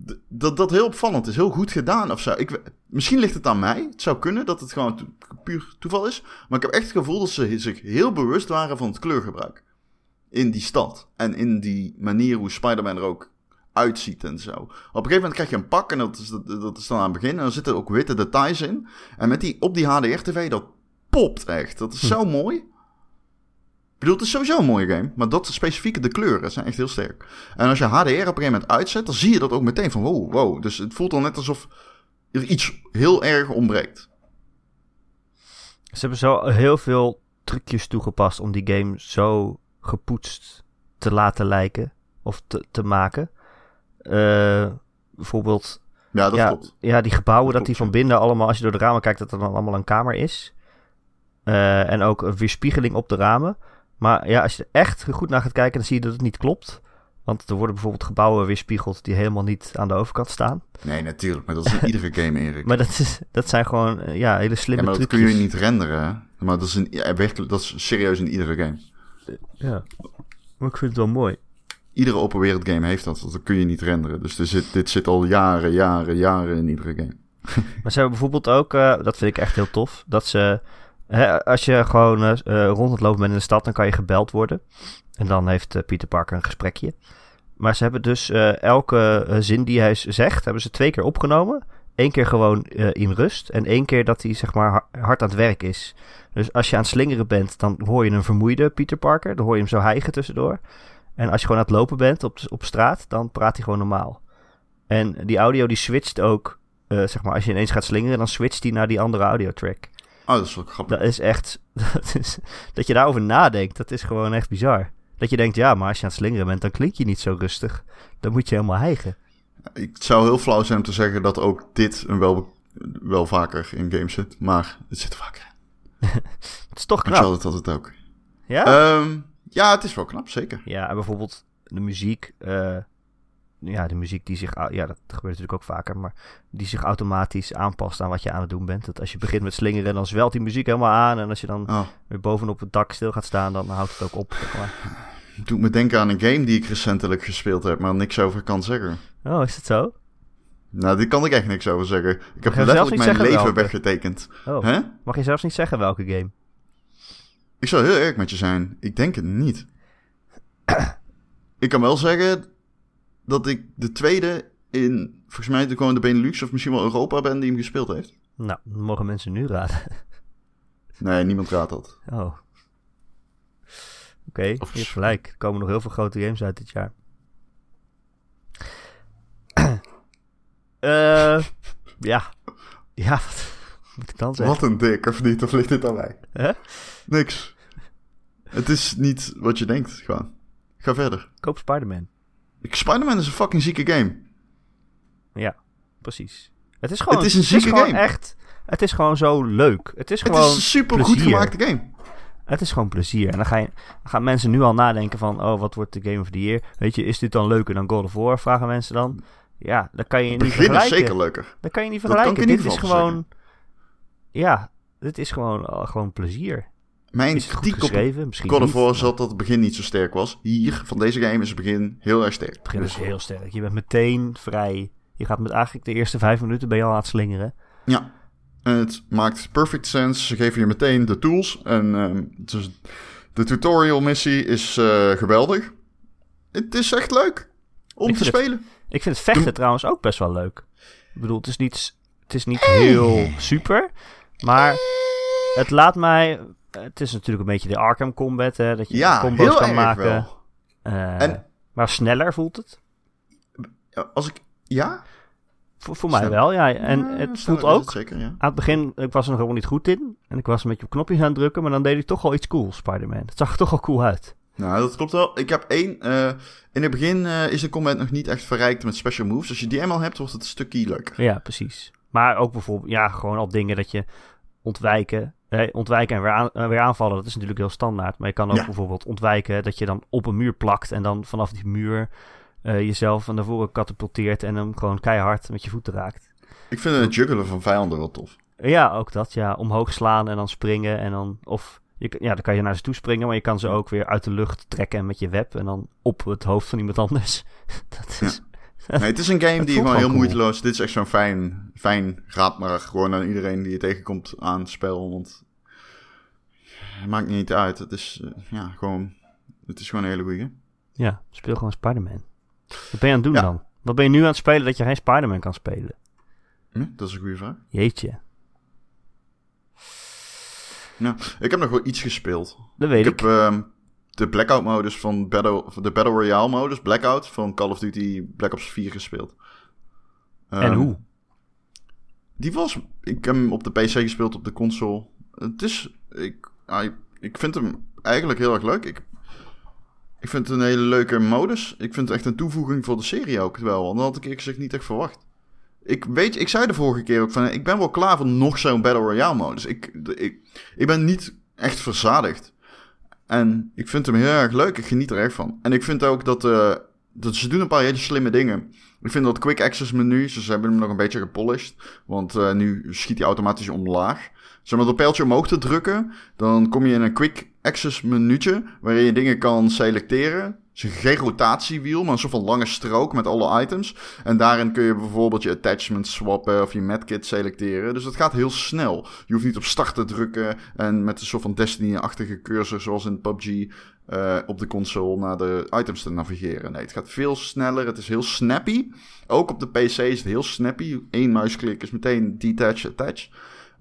d- Dat, dat heel opvallend is. Heel goed gedaan of zo. Ik, we- misschien ligt het aan mij. Het zou kunnen dat het gewoon to- puur toeval is. Maar ik heb echt het gevoel dat ze zich heel bewust waren van het kleurgebruik. In die stad. En in die manier hoe Spider-Man er ook uitziet en zo. Op een gegeven moment krijg je een pak en dat is, dat, dat is dan aan het begin. En dan zitten ook witte details in. En met die, op die HDR-TV, dat popt echt. Dat is zo mooi. Ik bedoel, het is sowieso een mooie game. Maar dat specifieke, de kleuren zijn echt heel sterk. En als je HDR op een gegeven moment uitzet, dan zie je dat ook meteen van wow, wow. Dus het voelt dan net alsof er iets heel erg ontbreekt. Ze hebben zo heel veel trucjes toegepast om die game zo gepoetst te laten lijken of te, te maken. Eh, bijvoorbeeld Ja, dat ja, klopt. Ja, die gebouwen, dat, Dat die klopt, van ja. binnen allemaal, als je door de ramen kijkt, dat er dan allemaal een kamer is. Eh, en ook een weerspiegeling op de ramen. Maar ja, als je er echt goed naar gaat kijken, dan zie je dat het niet klopt. Want er worden bijvoorbeeld gebouwen weerspiegeld die helemaal niet aan de overkant staan. Nee, natuurlijk. Maar dat is in iedere game, Erik. Maar dat, is, dat zijn gewoon eh, ja, hele Ja, slimme maar dat kun trucjes. je niet renderen. hè. Maar dat is, in, ja, werkelijk, dat is serieus in iedere game. Ja. Maar ik vind het wel mooi. Iedere open wereld game heeft dat. Dat kun je niet renderen. Dus er zit, dit zit al jaren, jaren, jaren in iedere game. Maar ze hebben bijvoorbeeld ook, eh, dat vind ik echt heel tof, dat ze, hè, als je gewoon eh, eh, rond het lopen bent in de stad, dan kan je gebeld worden. En dan heeft eh, Peter Parker een gesprekje. Maar ze hebben dus eh, elke eh, zin die hij z- zegt, hebben ze twee keer opgenomen. Eén keer gewoon eh, in rust en één keer dat hij zeg maar ha- hard aan het werk is. Dus als je aan het slingeren bent, dan hoor je een vermoeide Peter Parker. Dan hoor je hem zo hijgen tussendoor. En als je gewoon aan het lopen bent op, op straat, dan praat hij gewoon normaal. En die audio die switcht ook eh, zeg maar, als je ineens gaat slingeren, dan switcht die naar die andere audiotrack. Oh, dat is wel grappig. Dat is echt. Dat, is, dat je daarover nadenkt, dat is gewoon echt bizar. Dat je denkt, ja, maar als je aan het slingeren bent, dan klink je niet zo rustig. Dan moet je helemaal hijgen. Ik het zou heel flauw zijn om te zeggen dat ook dit een wel, wel vaker in games zit. Maar het zit er vaker in. Het is toch knap. Uncharted had het ook. Ja? Ehm, ja, het is wel knap, zeker. Ja, en bijvoorbeeld de muziek. eh, ja, de muziek die zich. au- Ja, dat gebeurt natuurlijk ook vaker. Maar die zich automatisch aanpast aan wat je aan het doen bent. Dat als je begint met slingeren, dan zwelt die muziek helemaal aan. En als je dan Oh, weer bovenop het dak stil gaat staan, dan houdt het ook op. zeg maar. het doet me denken aan een game die ik recentelijk gespeeld heb, maar niks over kan zeggen. Oh, is dat zo? Nou, dit kan ik echt niks over zeggen. Ik heb zelfs niet letterlijk mijn zeggen leven welke. weggetekend. Oh. Hè? Mag je zelfs niet zeggen welke game? Ik zou heel eerlijk met je zijn. Ik denk het niet. ik kan wel zeggen dat ik de tweede in, volgens mij gewoon de Benelux of misschien wel Europa ben die hem gespeeld heeft. Nou, dat mogen mensen nu raden. Nee, niemand raadt dat. Oh. Oké, je Of- hebt gelijk. Er komen nog heel veel grote games uit dit jaar. Eh, ja. Ja, wat moet ik dan zeggen? Wat een dik, of niet? Of ligt dit aan mij? Hè? Niks. Het is niet wat je denkt, gewoon. Ga verder. Koop Spider-Man. Ik- Spider-Man is een fucking zieke game. Precies. Het is gewoon, Het is een zieke gewoon game. echt... Het is gewoon zo leuk. Het is Het gewoon... is een super goed plezier. gemaakte game. Het is gewoon plezier. En dan, ga je, dan gaan mensen nu al nadenken van... Oh, wat wordt de Game of the Year? Weet je, is dit dan leuker dan God of War? Vragen mensen dan. Ja, dat kan je niet Het begin is vergelijken. zeker leuker. Dat kan je niet Dat kan ik vergelijken. dit in ieder is geval gewoon. Ja, dit is gewoon, al- gewoon plezier. Mijn Is het goed kritiek op geschreven? Misschien. God of niet. War zat dat het begin niet zo sterk was. Hier, van deze game, is het begin heel erg sterk. Het begin is Dus- heel sterk. Je bent meteen vrij. Je gaat met eigenlijk de eerste vijf minuten ben je al aan het slingeren. Ja. En het maakt perfect sense. Ze geven je meteen de tools. En ehm, dus de tutorial missie is eh, geweldig. Het is echt leuk om Ik te vind het- spelen. Ik vind het vechten Doe- trouwens ook best wel leuk. Ik bedoel, het is niet, s- het is niet heel super. Maar het laat mij. Het is natuurlijk een beetje de Arkham Combat. Hè, dat je Ja, combo's heel kan erg maken. wel. Eh, En- Maar sneller voelt het. Ja, Als ik... Ja? Voor, voor mij Sneller. wel, ja. En Ja, het voelt sneller is ook het Zeker, ja. Aan het begin, ik was er nog helemaal niet goed in. En ik was een beetje op knopjes aan het drukken. Maar dan deed ik toch al iets cool, Spider-Man. Het zag er toch al cool uit. Nou, dat klopt wel. Ik heb één... eh, in het begin eh, is de combat nog niet echt verrijkt met special moves. Als je die eenmaal hebt, wordt het een stukje leuker. Ja, precies. Maar ook bijvoorbeeld, ja, gewoon al dingen dat je ontwijken. Hè, ontwijken en weer, aan- eh, weer aanvallen, dat is natuurlijk heel standaard. Maar je kan ook Ja. bijvoorbeeld ontwijken dat je dan op een muur plakt. En dan vanaf die muur eh, jezelf naar voren katapulteert. En hem gewoon keihard met je voeten raakt. Ik vind het juggelen van vijanden wel tof. Ja, ook dat. Ja, omhoog slaan en dan springen. En dan, of Je, ja, dan kan je naar ze toe springen, maar je kan ze ook weer uit de lucht trekken en met je web en dan op het hoofd van iemand anders. dat is. Nee, het is een game Het die voelt gewoon heel gewoon cool. moeiteloos. Dit is echt zo'n fijn, fijn raad maar gewoon aan iedereen die je tegenkomt aan het spel. Want het maakt niet uit. Het is, eh, ja, gewoon, het is gewoon een hele goeie. game. Ja, speel gewoon Spider-Man. Wat ben je aan het doen Ja. dan? Wat ben je nu aan het spelen dat je geen Spider-Man kan spelen? Hm? Dat is een goede vraag. Jeetje, Ja. Nou, Ik heb nog wel iets gespeeld. dat weet Ik ik. heb ehm, de Blackout modus van Battle, van de Battle Royale modus, Blackout, van Call of Duty Black Ops 4 gespeeld. en Ehm, hoe? Die was. Ik heb hem op de PC gespeeld, op de console. Het is. Ik, hij- ik vind hem eigenlijk heel erg leuk. Ik, ik vind het een hele leuke modus. Ik vind het echt een toevoeging voor de serie ook wel. Want dat had ik eerlijk gezegd niet echt verwacht. Ik weet, ik zei de vorige keer ook van. Ik ben wel klaar voor nog zo'n Battle Royale modus. Ik, de- ik, ik ben niet echt verzadigd. En ik vind hem heel erg leuk. Ik geniet er echt van. En ik vind ook dat. eh, dat ze doen een paar hele slimme dingen. Ik vind dat quick access menu, ze ze hebben hem nog een beetje gepolished. Want eh, nu schiet hij automatisch omlaag. Zeg maar, door pijltje omhoog te drukken, dan kom je in een quick access menu'tje, waarin je dingen kan selecteren. Het is geen rotatiewiel, maar een soort van lange strook met alle items. En daarin kun je bijvoorbeeld je attachments swappen of je medkit selecteren. Dus dat gaat heel snel. Je hoeft niet op start te drukken en met een soort van Destiny-achtige cursor, zoals in PUBG, eh, op de console naar de items te navigeren. Nee, het gaat veel sneller. Het is heel snappy. Ook op de PC is het heel snappy. Eén muisklik is meteen detach, attach.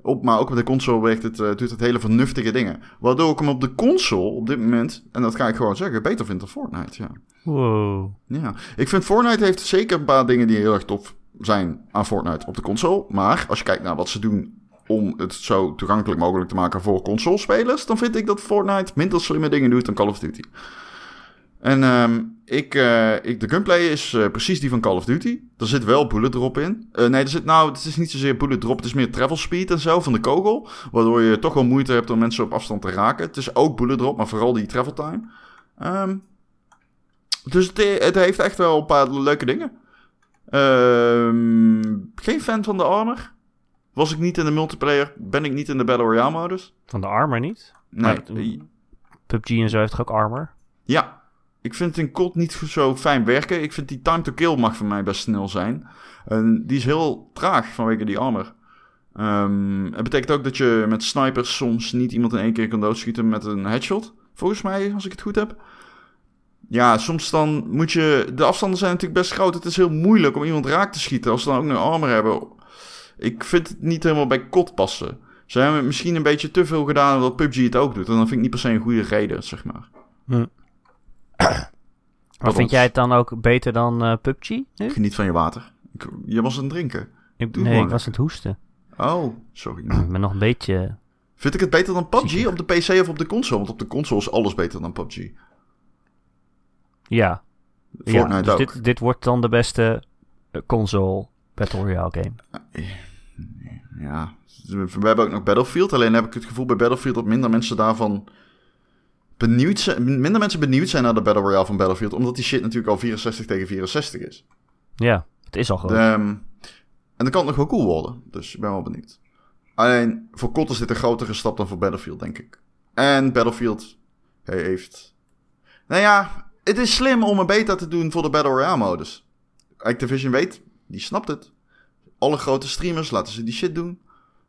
Op, maar ook op de console werkt het, eh, doet het hele vernuftige dingen. Waardoor ik hem op de console op dit moment, en dat ga ik gewoon zeggen, beter vind dan Fortnite. Ja. Wow. Ja, ik vind Fortnite heeft zeker een paar dingen die heel erg tof zijn aan Fortnite op de console. Maar als je kijkt naar wat ze doen om het zo toegankelijk mogelijk te maken voor consolespelers, dan vind ik dat Fortnite minder slimme dingen doet dan Call of Duty. En ehm, ik, eh, ik, de gunplay is eh, precies die van Call of Duty. Er zit wel bullet drop in. Eh, nee, er zit, nou, het is niet zozeer bullet drop. Het is meer travel speed en zo van de kogel. Waardoor je toch wel moeite hebt om mensen op afstand te raken. Het is ook bullet drop, maar vooral die travel time. Ehm, dus het, het heeft echt wel een paar leuke dingen. Ehm, geen fan van de armor. Was ik niet in de multiplayer, ben ik niet in de Battle Royale modus. Van de armor niet? Nee. Maar, mm, PUBG en zo heeft toch ook armor? Ja, ik vind het in COD niet zo fijn werken. Ik vind die time to kill mag voor mij best snel zijn. En die is heel traag vanwege die armor. Ehm het betekent ook dat je met snipers soms niet iemand in één keer kan doodschieten met een headshot. Volgens mij, als ik het goed heb. Ja, soms dan moet je... De afstanden zijn natuurlijk best groot. Het is heel moeilijk om iemand raak te schieten als ze dan ook nog armor hebben. Ik vind het niet helemaal bij COD passen. Ze hebben het misschien een beetje te veel gedaan omdat PUBG het ook doet. En dan vind ik niet per se een goede reden, zeg maar. Maar vind ons. jij het dan ook beter dan eh, PUBG nu? Geniet van je water. Ik, je was aan het drinken. Ik, doe nee, gewoon ik was aan het hoesten. Oh, sorry. Ik ben nog een beetje... Vind ik het beter dan PUBG op de PC of op de console? Want op de console is alles beter dan PUBG. Ja. Fortnite ja, dus ook. Dit, dit wordt dan de beste eh, console Battle Royale game. Ja. We hebben ook nog Battlefield. Alleen heb ik het gevoel bij Battlefield dat minder mensen daarvan benieuwd zijn. Minder mensen benieuwd zijn naar de Battle Royale van Battlefield. Omdat die shit natuurlijk al 64 tegen 64 is. Ja, het is al gewoon. Ehm, en dat kan nog wel cool worden. Dus ik ben wel benieuwd. Alleen voor COD is dit een grotere stap dan voor Battlefield, denk ik. En Battlefield heeft. Nou ja, het is slim om een beta te doen voor de Battle Royale modus. Activision weet, die snapt het. Alle grote streamers laten ze die shit doen.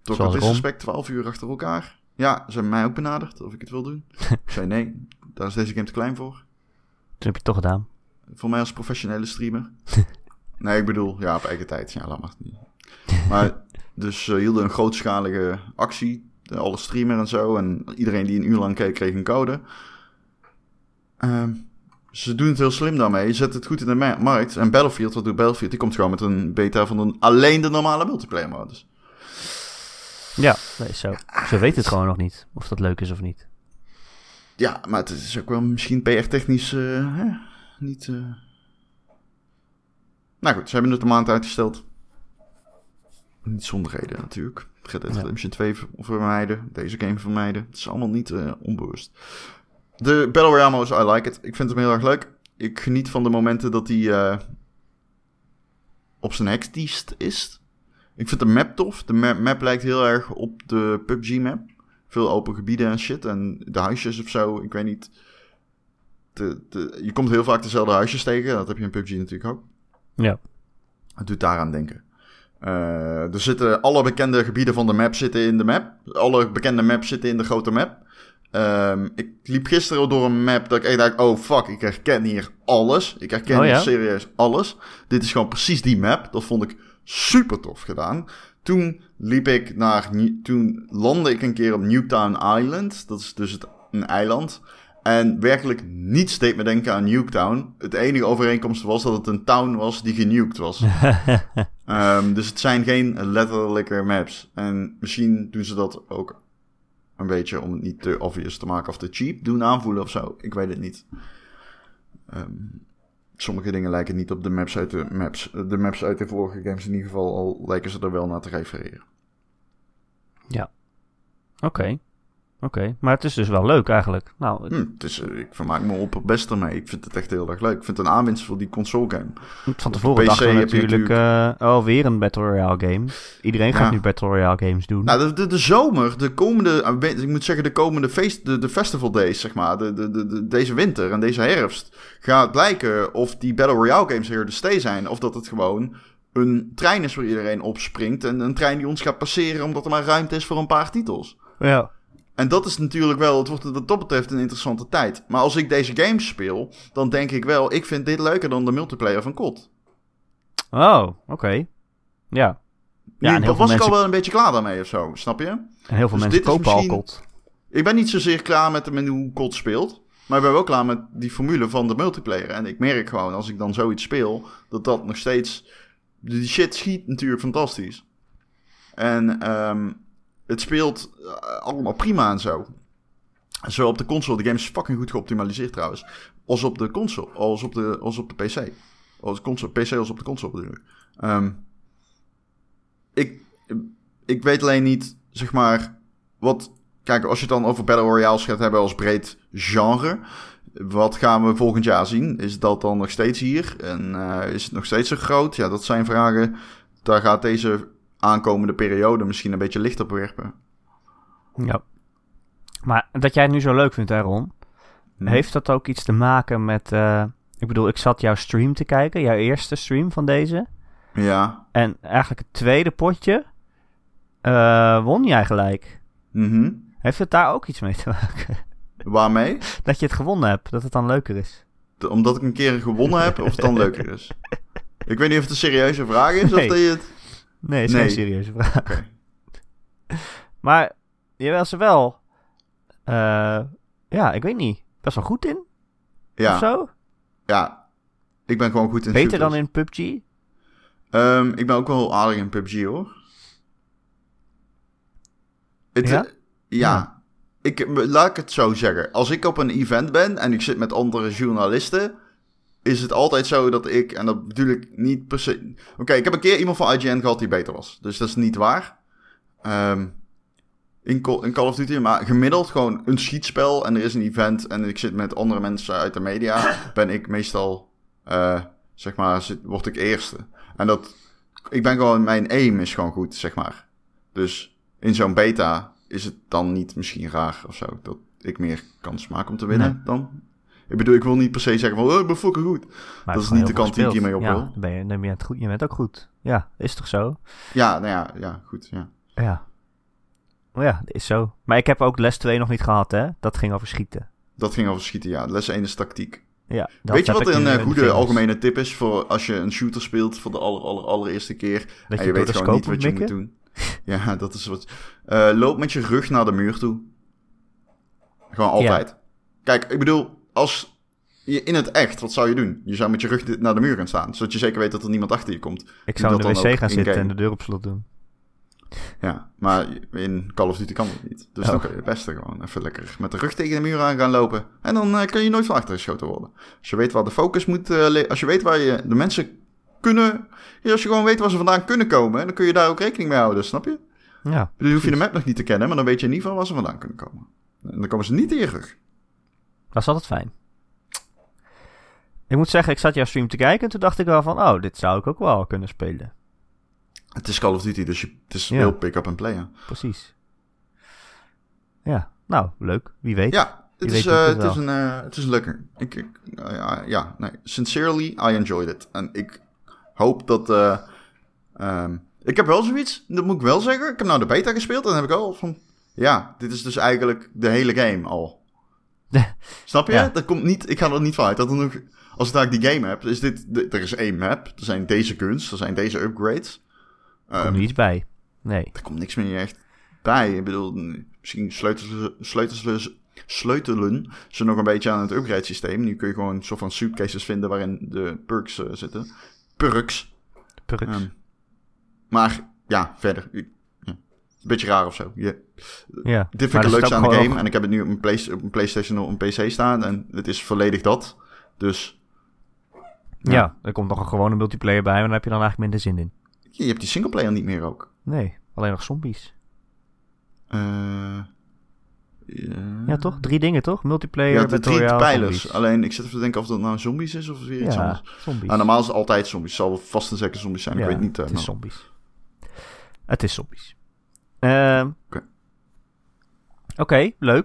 Door Zoals het Ron. disrespect 12 uur achter elkaar. Ja, ze hebben mij ook benaderd of ik het wil doen. ik zei nee, daar is deze game te klein voor. Toen heb je het toch gedaan. Voor mij als professionele streamer. nee, ik bedoel, ja, op eigen tijd. Ja, laat maar. Maar, dus eh, hielden een grootschalige actie. Eh, Alle streamer en zo. En iedereen die een uur lang keek, kreeg een code. Ehm, ze doen het heel slim daarmee. Zet het goed in de ma- markt. En Battlefield, wat doet Battlefield? Die komt gewoon met een beta van een, alleen de normale multiplayer modus. Ja, dat is zo. Ze weten het gewoon nog niet. Of dat leuk is of niet. Ja, maar het is ook wel misschien PR-technisch eh, hè, niet... eh. Nou goed, ze hebben het een maand uitgesteld. Niet zonder reden natuurlijk. Red Dead Ja. Redemption 2 vermijden, deze game vermijden. Het is allemaal niet eh, onbewust. De Battle Royale modus, I like it. Ik vind hem heel erg leuk. Ik geniet van de momenten dat hij eh, op zijn hekstiest is. Ik vind de map tof. De ma- map lijkt heel erg op de PUBG map. Veel open gebieden en shit. En de huisjes of zo, ik weet niet. De, de, je komt heel vaak dezelfde huisjes tegen. Dat heb je in PUBG natuurlijk ook. Ja. Het doet daaraan denken. Eh, er zitten alle bekende gebieden van de map zitten in de map. Alle bekende maps zitten in de grote map. Ehm, ik liep gisteren door een map dat ik echt dacht, oh fuck, ik herken hier alles. Ik herken Oh ja? hier serieus alles. Dit is gewoon precies die map. Dat vond ik super tof gedaan. Toen liep ik naar, New- toen landde ik een keer op Newtown Island. Dat is dus het, een eiland. En werkelijk niets deed me denken aan Nuketown. Het enige overeenkomst was dat het een town was die genuked was. Ehm, dus het zijn geen letterlijke maps. En misschien doen ze dat ook een beetje om het niet te obvious te maken of te cheap doen aanvoelen of zo. Ik weet het niet. Ehm, sommige dingen lijken niet op de maps uit de maps. De maps uit de vorige games in ieder geval al lijken ze er wel naar te refereren. Oké. Oké. Maar het is dus wel leuk eigenlijk. Nou, Hm, het is, eh, ik vermaak me op het beste mee. Ik vind het echt heel erg leuk. Ik vind het een aanwinst voor die console game. Van Op de tevoren PC dachten we heb je natuurlijk eh, oh, weer een Battle Royale game. Iedereen gaat Ja. nu Battle Royale games doen. Nou, de, de, de zomer, de komende, eh, weet- ik moet zeggen, de komende feest, de, de festival days, zeg maar, de, de, de- de- deze winter en deze herfst, gaat blijken of die Battle Royale games hier de stay zijn, of dat het gewoon een trein is waar iedereen opspringt en een trein die ons gaat passeren omdat er maar ruimte is voor een paar titels. ja. En dat is natuurlijk wel, het wordt wat dat betreft een interessante tijd. Maar als ik deze games speel, dan denk ik wel, ik vind dit leuker dan de multiplayer van COD. Oh, oké. Ja. Nu, Ja, en dat heel was veel ik mensen, al wel een beetje klaar daarmee of zo, snap je? en heel veel dus mensen dit is kopen al misschien- kot. Ik ben niet zozeer klaar met, de- met hoe COD speelt. Maar ik ben wel klaar met die formule van de multiplayer. En ik merk gewoon, als ik dan zoiets speel, dat dat nog steeds... Die shit schiet natuurlijk fantastisch. En ehm, het speelt eh, allemaal prima en zo. Zo op de console. De game is fucking goed geoptimaliseerd trouwens. Als op de console. Als op de, als op de PC. Als console, PC als op de console bedoel ik. Ehm, ik. Ik weet alleen niet, zeg maar, wat... Kijk, als je het dan over Battle Royales gaat hebben als breed genre... Wat gaan we volgend jaar zien? Is dat dan nog steeds hier? En eh, is het nog steeds zo groot? Ja, dat zijn vragen. Daar gaat deze aankomende periode misschien een beetje licht op werpen. Ja. Maar dat jij het nu zo leuk vindt, hè, Ron? Hm. Heeft dat ook iets te maken met... eh, ik bedoel, ik zat jouw stream te kijken. Jouw eerste stream van deze. Ja. En eigenlijk het tweede potje eh, won jij gelijk. Mhm. Heeft het daar ook iets mee te maken? Waarmee? Dat je het gewonnen hebt, dat het dan leuker is. De- omdat ik een keer gewonnen heb, of het dan leuker is. Ik weet niet of het een serieuze vraag is, Nee. of dat je het... Nee, is geen Nee. serieuze vraag. Oké. Maar je was er wel, eh, ja, ik weet niet, best wel goed in of Ja, zo. ja, ik ben gewoon goed in Beter shooters. dan in PUBG. Ehm, ik ben ook wel aardig in PUBG, hoor. Het, Ja? ja? ja. Ik, laat ik het zo zeggen. Als ik op een event ben en ik zit met andere journalisten... is het altijd zo dat ik... en dat bedoel ik niet per se... Oké, ik heb een keer iemand van IGN gehad die beter was. Dus dat is niet waar. Ehm, in, Call, in Call of Duty, maar gemiddeld gewoon een schietspel... en er is een event en ik zit met andere mensen uit de media... ben ik meestal... eh, zeg maar, zit- word ik eerste. En dat... Ik ben gewoon... Mijn aim is gewoon goed, zeg maar. Dus in zo'n beta is het dan niet misschien raar of zo... dat ik meer kans maak om te winnen dan... Ik bedoel, ik wil niet per se zeggen van... Oh, ik ben fucking goed. Maar gewoon Dat is niet heel de goed kant die ik gespeeld. hiermee op ja, wil. dan Ben je, dan ben je, het goed, je bent ook goed. Ja, is toch zo? Ja, nou ja, ja goed. Ja. Ja. Maar ja, is zo. Maar ik heb ook les 2 nog niet gehad, hè? Dat ging over schieten. Dat ging over schieten, ja. Les 1 is tactiek. Ja, dat Weet je heb wat ik een nu in eh, de goede vingers. algemene tip is voor als je een shooter speelt voor de aller, aller, allereerste keer? Dat en je door je weet de gewoon niet scope wat moet je moet mikken? doen. Ja, dat is wat. Eh, loop met je rug naar de muur toe. Gewoon altijd. Kijk, ik bedoel, als je in het echt, wat zou je doen? Je zou met je rug di- naar de muur gaan staan, zodat je zeker weet dat er niemand achter je komt. Ik zou in dat de dan wc ook gaan in zitten en game. de deur op slot doen. Ja, maar in Call of Duty kan dat niet. Dus Oh. dan kan je het beste gewoon even lekker met de rug tegen de muur aan gaan lopen. En dan eh, kun je nooit van achter geschoten worden. Als je weet waar de focus moet eh, li- Als je weet waar je de mensen kunnen... Ja, als je gewoon weet waar ze vandaan kunnen komen... dan kun je daar ook rekening mee houden, snap je? Ja, Dus hoef je de map nog niet te kennen... maar dan weet je in ieder geval waar ze vandaan kunnen komen. En dan komen ze niet in je rug. dat is altijd fijn. Ik moet zeggen, ik zat jouw stream te kijken en toen dacht ik wel van, oh, dit zou ik ook wel kunnen spelen. Het is Call of Duty, dus je, het is Ja. heel pick-up en play. hè. Precies. Ja, nou, leuk. Wie weet. Ja, Wie het weet is, doet eh, het het, wel. is een, eh, het is een lekker. Ik, ik, eh, ja, ja, nee. Sincerely, I enjoyed it. En ik hoop dat. eh, ehm, ik heb wel zoiets, dat moet ik wel zeggen. Ik heb nou de beta gespeeld en dan heb ik al van. Ja, dit is dus eigenlijk de hele game al. Snap je? Ja. Dat komt niet, ik ga er niet van uit. Dat er nog, als ik daar die game heb, is dit. de- er is één map, er zijn deze kunst, er zijn deze upgrades. Er Ehm, komt niets bij. Nee. er komt niks meer echt bij. Ik bedoel, misschien sleutelen, ze- sleutelen, ze- sleutelen ze nog een beetje aan het upgrade systeem. Nu kun je gewoon een soort van suitcases vinden waarin de perks eh, zitten. Perks. Perks. Ehm, maar ja, verder. Ik- ja. Een beetje raar of zo. Je- ja. Dit vind Maar ik er zit het leukste ook aan de gewoon game. En ik heb het nu op mijn, Play- op mijn PlayStation of op mijn PC staan. En het is volledig dat. Dus nog- ja, er komt nog een gewone multiplayer bij, maar daar heb je dan eigenlijk minder zin in. je, je hebt die singleplayer niet meer ook. Nee, alleen nog zombies. Eh, ja. Ja, toch? Drie dingen, toch? Multiplayer, Hmm. Ja, de drie tutorial, pijlers. zombies. Alleen ik zit even te denken of dat nou zombies is of weer iets Ja, anders. zombies. Nou, normaal is het altijd zombies. Het zal vast en zeker zombies zijn. Ja, ik weet niet. eh, het is maar- zombies. Het is zombies. Ehm, Oké. Oké, leuk. Wanneer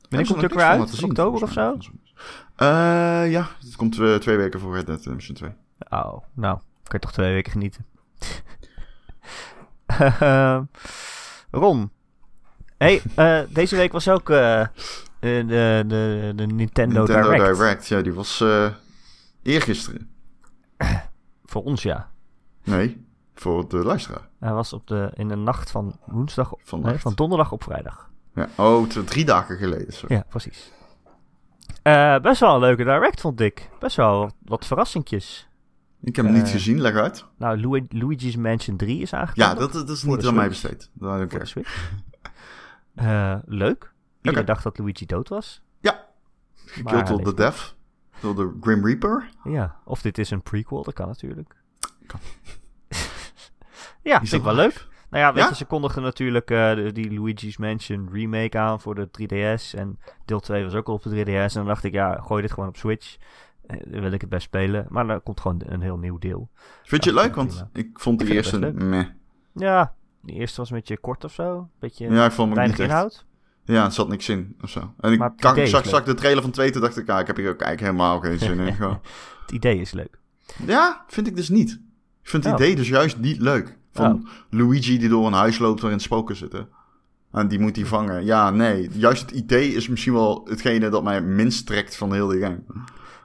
Hebben ze komt nog het ook niks weer van uit? laten zien, Oktober of volgens mij, zo? van zombies. Eh, ja, het komt eh, twee weken voor Red Dead Redemption 2. Oh, nou, kan je toch twee weken genieten. Ehm, Ron. hey, eh, deze week was ook eh, eh, de, de, de Nintendo, Direct. ja, die was eh eergisteren. Voor ons, ja. Nee, voor de luisteraar. Hij was op de, in de nacht van woensdag, Van nee, nacht. van donderdag op vrijdag. Ja. Oh, t- drie dagen geleden. Sorry. Ja, precies. Eh, best wel een leuke direct, vond ik. Best wel wat, wat verrassingjes. Ik heb hem niet Eh, gezien, leg uit. Nou, Lu- Luigi's Mansion 3 is Ja, aangekomen. dat, dat is voor niet de aan mij Switch. besteed. Nou, I don't voor de care. Switch. Eh, leuk. Iedereen Oké. dacht dat Luigi dood was. Gekild door de leeft Dev, door de Grim Reaper. Ja, of dit is een prequel, dat kan natuurlijk. Kan. ja, Die is vind ik wel al leuk. live. Nou ja, weet Ja? je, ze kondigen natuurlijk eh, de- die Luigi's Mansion remake aan voor de 3DS. En deel 2 was ook al op de 3DS. En dan dacht ik, ja, gooi dit gewoon op Switch. Eh, dan wil ik het best spelen. Maar dan komt gewoon een heel nieuw deel. Vind je het Ja, leuk? Want prima. ik vond Ik de vind het eerste best meh. Ja, de eerste was een beetje kort of zo. Beetje Ja, ik vond hem ook weinig niet echt. inhoud. Ja, er zat niks in of zo. En ik, Maar het kan- idee ik is zag, leuk. zag de trailer van twee, toen dacht ik, ah, ik heb hier ook eigenlijk helemaal geen zin in. Gewoon. Het idee is leuk. Ja, vind ik dus niet. Ik vind het Oh. idee dus juist niet leuk. Van Luigi die door een huis loopt waarin spoken zitten. En die moet hij vangen. Ja, nee. Juist het idee is misschien wel hetgene dat mij minst trekt van heel die game.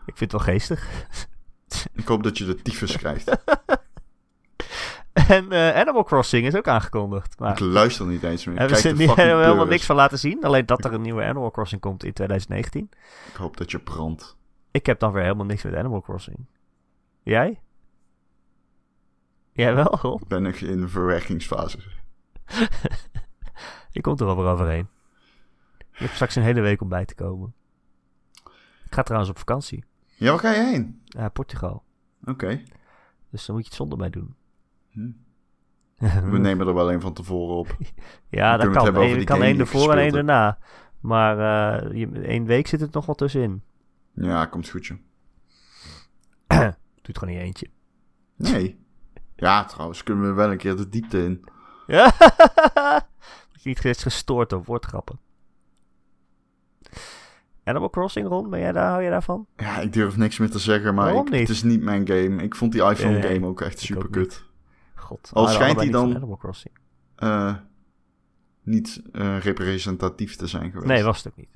Ik vind het wel geestig. Ik hoop dat je de tyfus krijgt. En eh, Animal Crossing is ook aangekondigd. Maar Ik luister niet eens meer. Ik hebben ze kijk de niet- fucking helemaal pleuris. niks van laten zien. Alleen dat er een nieuwe Animal Crossing komt in 2019. Ik hoop dat je brandt. Ik heb dan weer helemaal niks met Animal Crossing. Jij? Jij wel, Ron? Ik ben nog in de verwerkingsfase. Je komt er wel weer overheen. Je hebt straks een hele week om bij te komen. Ik ga trouwens op vakantie. Ja, waar ga je heen? naar Portugal. Oké. Dus dan moet je het zonder mij doen. Hm. We nemen er wel een van tevoren op. ja, kunnen we dat het kan. hebben over Eén- die kan game één die ik ervoor en één gespeeld heb. daarna. Maar eh, je- één week zit het nog wel tussenin. Ja, komt goed, joh. Doe het gewoon in je eentje. Nee. Ja, trouwens, kunnen we wel een keer de diepte in. Ja. Dat je niet is gestoord door woordgrappen. Animal Crossing, Ron, ben jij daar, hou je daarvan? Ja, ik durf niks meer te zeggen, maar Waarom ik- niet? het is niet mijn game. Ik vond die iPhone Nee, game ook echt ik ook super kut. God. Al we houden Oh, schijnt allebei hij niet van dan- Animal Crossing. Eh, niet eh, representatief te zijn geweest. Nee, was het ook niet.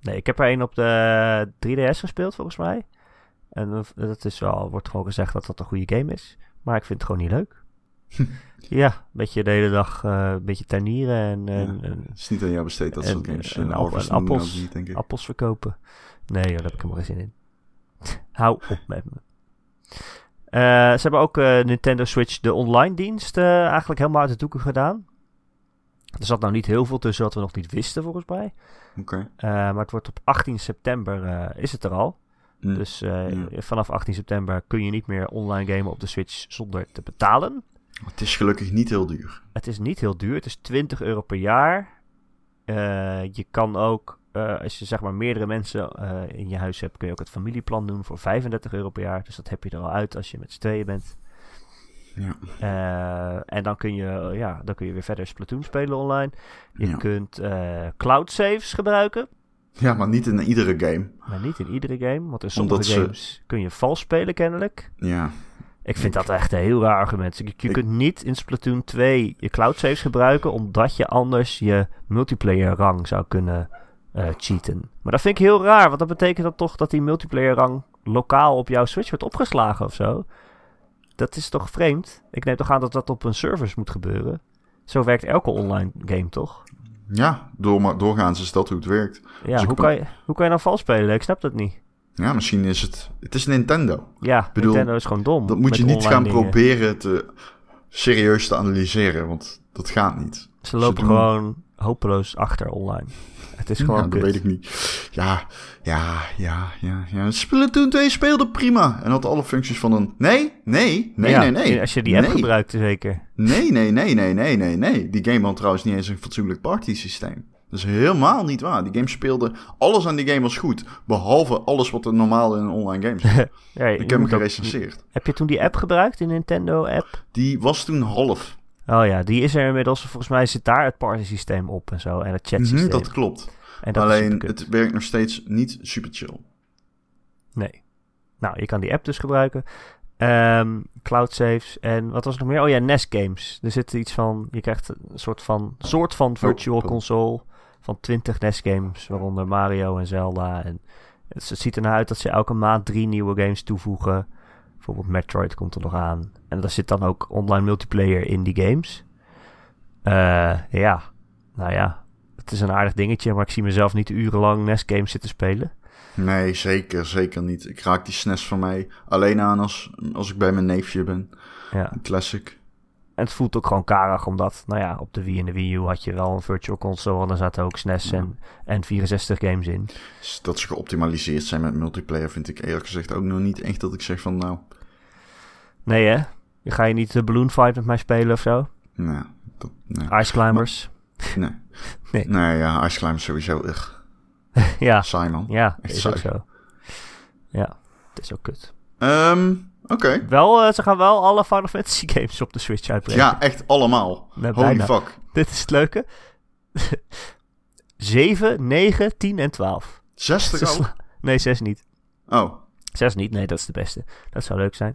Nee, ik heb er één op de 3DS gespeeld, volgens mij. En dat- dat is wel, wordt gewoon gezegd dat dat een goede game is. Maar ik vind het gewoon niet leuk. ja, een beetje de hele dag eh, een beetje tuinieren en, en, Ja. en Het is niet aan jou besteed dat en- soort games. en En, appel- ouders en doen dat appels. niet, denk ik. appels verkopen. Nee, joh, daar heb ik helemaal geen zin in. Hou op met me. Eh, ze hebben ook eh, Nintendo Switch, de online dienst, eh, eigenlijk helemaal uit de doeken gedaan. Er zat nou niet heel veel tussen wat we nog niet wisten, volgens mij. Oké. Eh, maar het wordt op 18 september eh, is het er al. Hm. Dus eh, Ja. vanaf 18 september kun je niet meer online gamen op de Switch zonder te betalen. Het is gelukkig niet heel duur. Het is niet heel duur. Het is 20 euro per jaar. Eh, je kan ook, eh, als je zeg maar meerdere mensen eh, in je huis hebt, kun je ook het familieplan doen voor 35 euro per jaar. Dus dat heb je er al uit als je met z'n tweeën bent. Ja. Eh, en dan kun, je, ja, dan kun je weer verder Splatoon spelen online. Je Ja. kunt eh, cloud saves gebruiken. ja, maar niet in iedere game. Maar niet in iedere game. Want in sommige Omdat ze- games kun je vals spelen kennelijk. Ja. Ik vind dat echt een heel raar argument. Je, je kunt niet in Splatoon 2 je cloud saves gebruiken. Omdat je anders je multiplayer rang zou kunnen eh, cheaten. Maar dat vind ik heel raar. Want dat betekent dan toch dat die multiplayer rang lokaal op jouw Switch wordt opgeslagen of zo. Dat is toch vreemd? Ik neem toch aan dat dat op een servers moet gebeuren. Zo werkt elke online game toch? Ja, door, maar doorgaans is dat hoe het werkt. Ja, hoe ik ben- kan, je, hoe kan je dan vals spelen? Ik snap dat niet. Ja, misschien is het... Het is Nintendo. Ja, bedoel, Nintendo is gewoon dom. Dat moet met je niet online gaan dingen. proberen te... Serieus te analyseren, want dat gaat niet. Ze lopen doen- gewoon hopeloos achter online. Het is Ja, gewoon dat kut. weet ik niet. Ja, ja, ja, ja, ja. Splatoon 2 speelde prima. En had alle functies van een... Nee, nee, nee, Ja, nee, nee. Als je die app nee. gebruikt zeker. Nee, nee, nee, nee, nee, nee, nee. Die game had trouwens niet eens een fatsoenlijk partysysteem. Dat is helemaal niet waar. Die game speelde... Alles aan die game was goed. Behalve alles wat er normaal in een online game zit. Ja, je Ik heb hem moet ook- gerecenseerd. heb je toen die app gebruikt, de Nintendo app? Die was toen half. Oh ja, die is er inmiddels. Volgens mij zit daar het party systeem op en zo. En het chat systeem. Mhm, dat klopt. en dat is Alleen, superkut. het werkt nog steeds niet super chill. Nee. Nou, je kan die app dus gebruiken. Ehm, cloud saves en wat was er nog meer? Oh ja, NES games. Er zit iets van, je krijgt een soort van, soort van virtual oh. console van 20 NES games, waaronder Mario en Zelda. En het, het ziet ernaar uit dat ze elke maand drie nieuwe games toevoegen. Bijvoorbeeld Metroid komt er nog aan. En daar zit dan ook online multiplayer in die games. Eh, ja, nou ja, het is een aardig dingetje, maar ik zie mezelf niet urenlang NES games zitten spelen. Nee, zeker, zeker niet. Ik raak die SNES van mij alleen aan als, als ik bij mijn neefje ben. Ja. Een classic. En het voelt ook gewoon karig, omdat, nou ja, op de Wii en de Wii U had je wel een Virtual Console en daar zaten ook SNES en, en 64 games in. Dus Dat ze geoptimaliseerd zijn met multiplayer vind ik eerlijk gezegd ook nog niet echt dat ik zeg van nou... Nee hè? Je ga je niet de Balloon Fight met mij spelen of zo? Nee, dat, nee, Ice Climbers? nee. Ah. Nee. Nee, ja, Ice Climb sowieso echt ja, saai man. ja, Echt is ook zo. Ja, het is ook kut. Ehm, Oké. Wel, eh, ze gaan wel alle Final Fantasy games op de Switch uitbrengen. Ja, echt allemaal. Nee, Holy bijna. fuck. Dit is het leuke. 7, 9, 10 en 12. 60 Ze al? sla- Nee, 6 niet. Oh, 6 niet, nee, dat is de beste. Dat zou leuk zijn.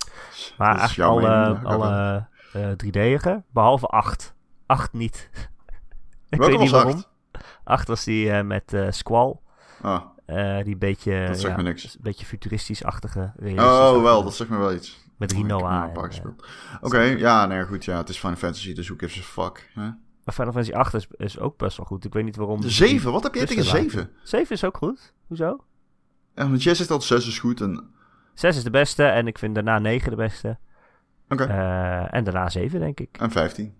Maar dat is eigenlijk jouw alle, mening, ja, ik heb alle eh 3D'ige, behalve 8. 8 niet. het. Ik Welke weet niet was waarom. acht? 8 was die eh, met eh, Squall. Ah, eh, die beetje, dat zegt ja, me niks. een beetje futuristisch-achtige. Oh, realistisch-achtige. wel, dat zegt me wel iets. Met Ik heb hem Rinoa. een paar en, eh, gespeeld. Oké, ja, nee, goed, ja, het is Final Fantasy, dus who gives a fuck. Hè? Maar Final Fantasy 8 is, is ook best wel goed. Ik weet niet waarom. De 7, wat heb jij Dus tegen te laat. 7? 7 is ook goed. Hoezo? Ja, want jij zegt dat 6 is goed en... 6 is de beste en ik vind daarna 9 de beste. Oké, Eh, en daarna 7, denk ik. en 15.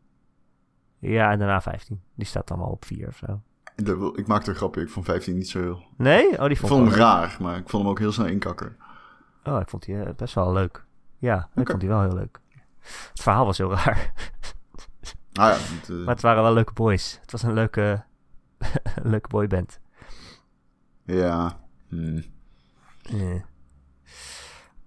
Ja, en daarna 15. Die staat dan wel op 4 of zo. Ik bedoel, Ik maakte een grapje, ik vond 15 niet zo heel... Nee? Oh, die Ik vond ik wel vond leuk. hem raar, maar ik vond hem ook heel snel inkakken. Oh, ik vond die eh, best wel leuk. Ja, ik Oké. vond die wel heel leuk. Het verhaal was heel raar. Nou ja, het, eh, Maar het waren wel leuke boys. Het was een leuke, een leuke boyband. ja... hm. Eh. Eh,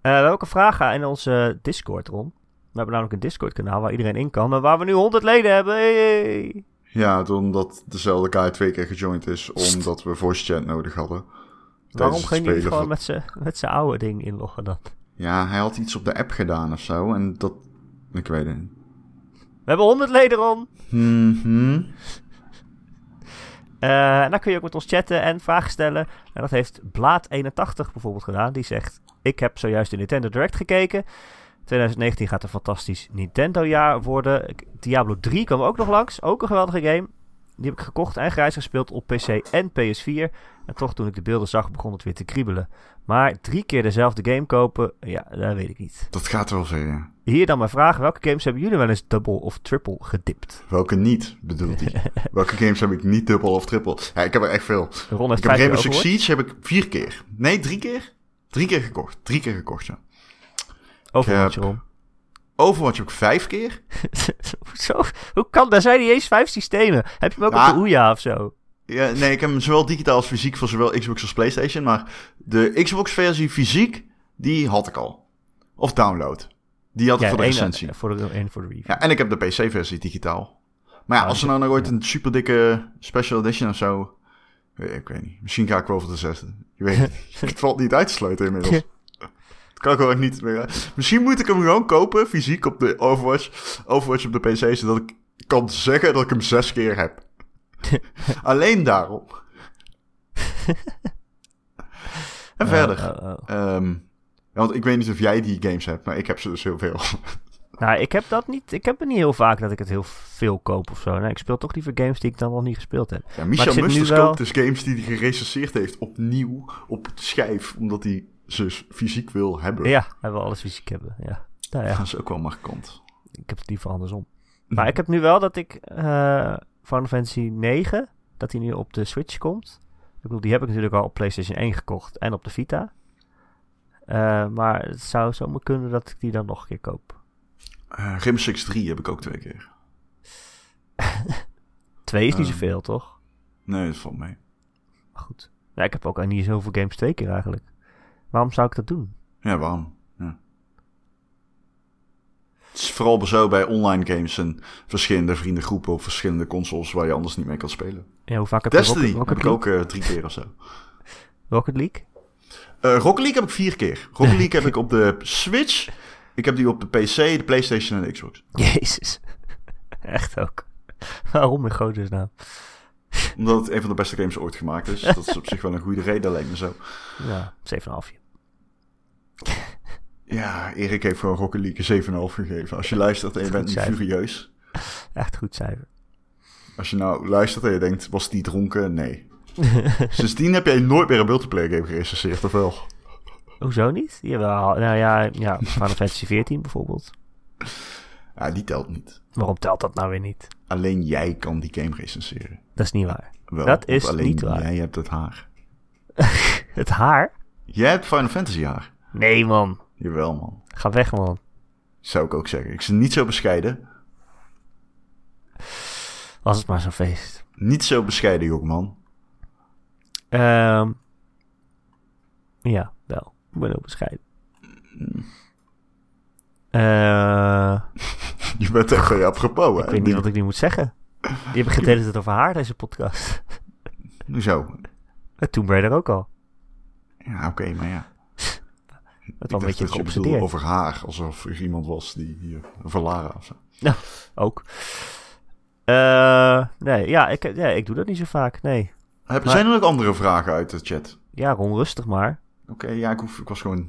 we hebben ook een vraag aan in onze Discord, Ron. We hebben namelijk een Discord-kanaal waar iedereen in kan. En waar we nu 100 leden hebben. Hey! Ja, het- omdat dezelfde guy twee keer gejoind is, omdat we voice chat nodig hadden. Waarom het ging hij niet spelen gewoon van- met zijn met zijn oude ding inloggen dan? Ja, hij had iets op de app gedaan of zo, en dat... Ik weet het niet. We hebben 100 leden, Ron. Hmm, Mhm. Eh, en dan kun je ook met ons chatten en vragen stellen. En dat heeft Blaat81 bijvoorbeeld gedaan. Die zegt: Ik heb zojuist de Nintendo Direct gekeken. 2019 gaat een fantastisch Nintendo-jaar worden. Ik- Diablo 3 kwam ook nog langs. Ook een geweldige game. Die heb ik gekocht en grijs gespeeld op PC en PS4. En toch, toen ik de beelden zag, begon het weer te kriebelen. Maar drie keer dezelfde game kopen, ja, dat weet ik niet. Dat gaat wel zeggen. Hier dan mijn vraag: welke games hebben jullie wel eens dubbel of triple gedipt? Welke niet, bedoelt hij. Welke games heb ik niet dubbel of triple? Ja, ik heb er echt veel. Ron heeft ik vijf keer heb Rainbow Six overhoord. Siege heb ik vier keer. Nee, drie keer? Drie keer gekocht. Drie keer gekocht, ja. Overwatch, heb- Ron. Die had ik Ja, voor de één, recensie. eh, voor de, één voor de review. Ja, en ik heb de PC-versie digitaal. Maar ja, Oh, als ze shit. nou nog ooit een super dikke special edition of zo. eh, Ik weet niet. Misschien ga ik wel voor de zesde. Je weet het. niet. het valt niet uit te sluiten inmiddels. Het kan gewoon niet meer. uit. Misschien moet ik hem gewoon kopen, fysiek op de Overwatch. Overwatch op de PC, zodat ik kan zeggen dat ik hem zes keer heb. Alleen daarom. en Oh, verder. oh, oh. Ehm, ja, want ik weet niet of jij die games hebt, maar ik heb ze dus heel veel. Nou, ik heb dat niet. Ik heb het niet heel vaak dat ik het heel veel koop of zo. Nee, ik speel toch liever games die ik dan wel niet gespeeld heb. Ja, Maar ik Michel zit nu Musters wel- koopt dus games die hij gerecenseerd heeft opnieuw op schijf, omdat hij ze s- fysiek wil hebben. Ja, hij wil alles fysiek hebben. Ja. Nou ja, Dat is ook wel markant. ik heb het liever andersom. Mhm. Maar ik heb nu wel dat ik eh Final Fantasy 9, dat die nu op de Switch komt. Ik bedoel, die heb ik natuurlijk al op PlayStation 1 gekocht en op de Vita. Eh, maar het zou zomaar kunnen dat ik die dan nog een keer koop. Eh, Rim 6-3 heb ik ook twee keer. Twee is niet Ehm. zoveel, toch? Nee, dat valt mee. Maar goed. Ja, ik heb ook niet zoveel games twee keer eigenlijk. Waarom zou ik dat doen? Ja, waarom? Ja. Het is vooral zo bij online games en verschillende vriendengroepen op verschillende consoles waar je anders niet mee kan spelen. Ja, hoe vaak heb je Destiny Rocket, heb Rocket ik League? ook eh, drie keer of zo. Rocket League? Eh Rocket League heb ik vier keer. Rocket League heb ik op de Switch, ik heb die op de PC, de PlayStation en de Xbox. Jezus. Echt ook. Waarom in godesnaam? Omdat het een van de beste games ooit gemaakt is. Dat is op zich wel een goede reden, lijkt me zo. Ja, 7,5. Ja, Erik heeft gewoon Rocket League een 7,5 gegeven. Als je luistert en je bent nu Goed cijfer. furieus. Echt goed cijfer. Als je nou luistert en je denkt, was die dronken? Nee. Sindsdien heb jij nooit meer een multiplayer game gerecenseerd, of wel? Hoezo niet? Jawel. Nou ja, ja Final Fantasy 14 bijvoorbeeld. Ja, die telt niet. Waarom telt dat nou weer niet? Alleen jij kan die game recenseren. Dat is niet waar. Wel, Dat want is alleen niet waar. jij hebt het haar. Het haar? Jij hebt Final Fantasy haar. Nee, man. Jawel, man. Ga weg, man. Zou ik ook zeggen. Ik ben niet zo bescheiden. Was het maar zo'n feest. Niet zo bescheiden, jongman. Ehm ja, wel. Ik ben heel bescheiden. Eh, Je bent echt van je apropos, hè? ik weet niet wat ik nu moet zeggen. Je begint de hele tijd over haar, deze podcast. Eh, Zo. En Tomb Raider ook al. Ja, oké, maar ja. Dat was een Ik beetje dacht dat je bedoelde geobsedeerd. over haar, alsof er iemand was die hier over Lara of zo. Ook. Eh, nee, ja ik, ja, ik doe dat niet zo vaak. Nee. Heb, Maar- Zijn er nog andere vragen uit de chat? Ja, Ron, rustig maar. Oké, ja, ik, hoef, ik was gewoon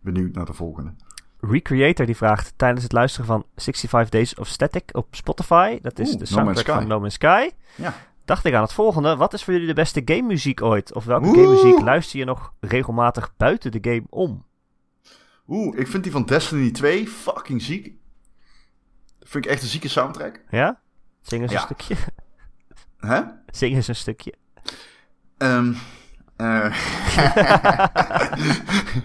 benieuwd naar de volgende. Recreator die vraagt tijdens het luisteren van 65 Days of Static op Spotify. Dat is Oeh, de No soundtrack Man's Sky. van No Man's Sky. Ja. Dacht ik aan het volgende. Wat is voor jullie de beste game muziek ooit? Of welke Oeh. game muziek luister je nog regelmatig buiten de game om? Oeh, ik vind die van Destiny 2 fucking ziek. Dat vind ik echt een zieke soundtrack. Ja? Zing eens Ja. een stukje. Hè? Zing eens een stukje. Ehm eh.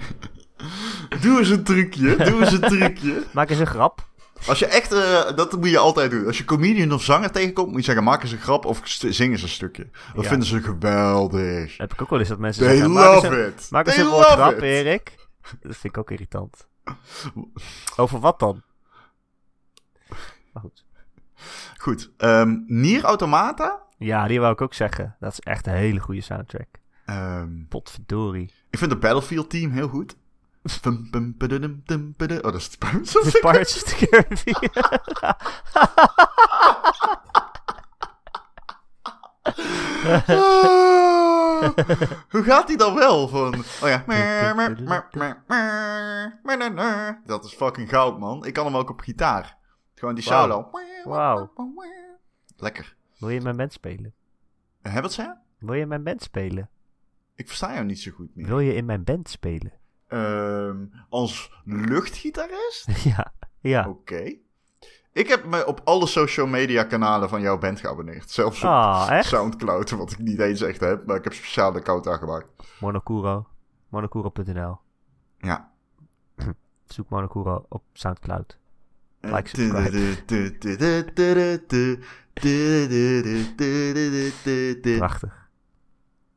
doe eens een trucje, doe eens een trucje. Maak eens een grap. Als je echt, eh, dat moet je altijd doen. Als je comedian of zanger tegenkomt, moet je zeggen, maak eens een grap of st- zing eens een stukje. Dat Ja. vinden ze geweldig. Heb ik ook wel eens dat mensen They zeggen. maak eens een- love it. Maak eens They een woord love grap, it. Erik. Dat vind ik ook irritant. Over wat dan? Maar goed. Goed. ehm Nier Automata. Ja, die wou ik ook zeggen. Dat is echt een hele goede soundtrack. Ehm, Potverdorie. ik vind het Battlefield team heel goed. Pum, pum, padadum, tum, pada- Oh, dat is het Pirates of De the Pirates of the Caribbean. Ah, Hoe gaat die dan wel? Van, oh ja. maar, maar, maar, maar, maar, maar, maar, maar. Dat is fucking goud, man. Ik kan hem ook op gitaar. Gewoon die Wauw. solo. Wauw. Lekker. Wil je in mijn band spelen? Eh, Hè, wat zei je? Wil je in mijn band spelen? Ik versta jou niet zo goed meer. Wil je in mijn band spelen? Ehm, als luchtgitarist? ja, ja. Oké. Ik heb me op alle social media kanalen van jouw band geabonneerd. Zelfs op Ah, echt? Soundcloud, wat ik niet eens echt heb. Maar ik heb speciaal een account aangemaakt. Monokuro. Monokuro.nl. Ja. Zoek Monokuro op Soundcloud. Like, Zing Prachtig.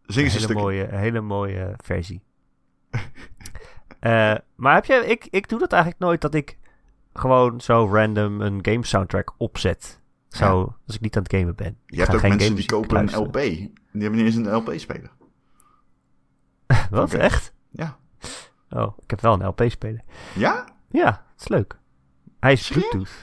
eens een een hele stukje. mooie, een hele mooie versie. Eh, maar heb jij, ik, ik doe dat eigenlijk nooit dat ik gewoon zo random een game soundtrack opzet. Zo, als ik niet aan het gamen ben. Ik Je hebt ga ook geen mensen die gamemuziek kopen een luisteren. LP. Die hebben niet eens een LP-speler. Wat, Oké. echt? Ja. Oh, ik heb wel een LP-speler. Ja? Ja, dat is leuk. Hij is Serieus? Bluetooth.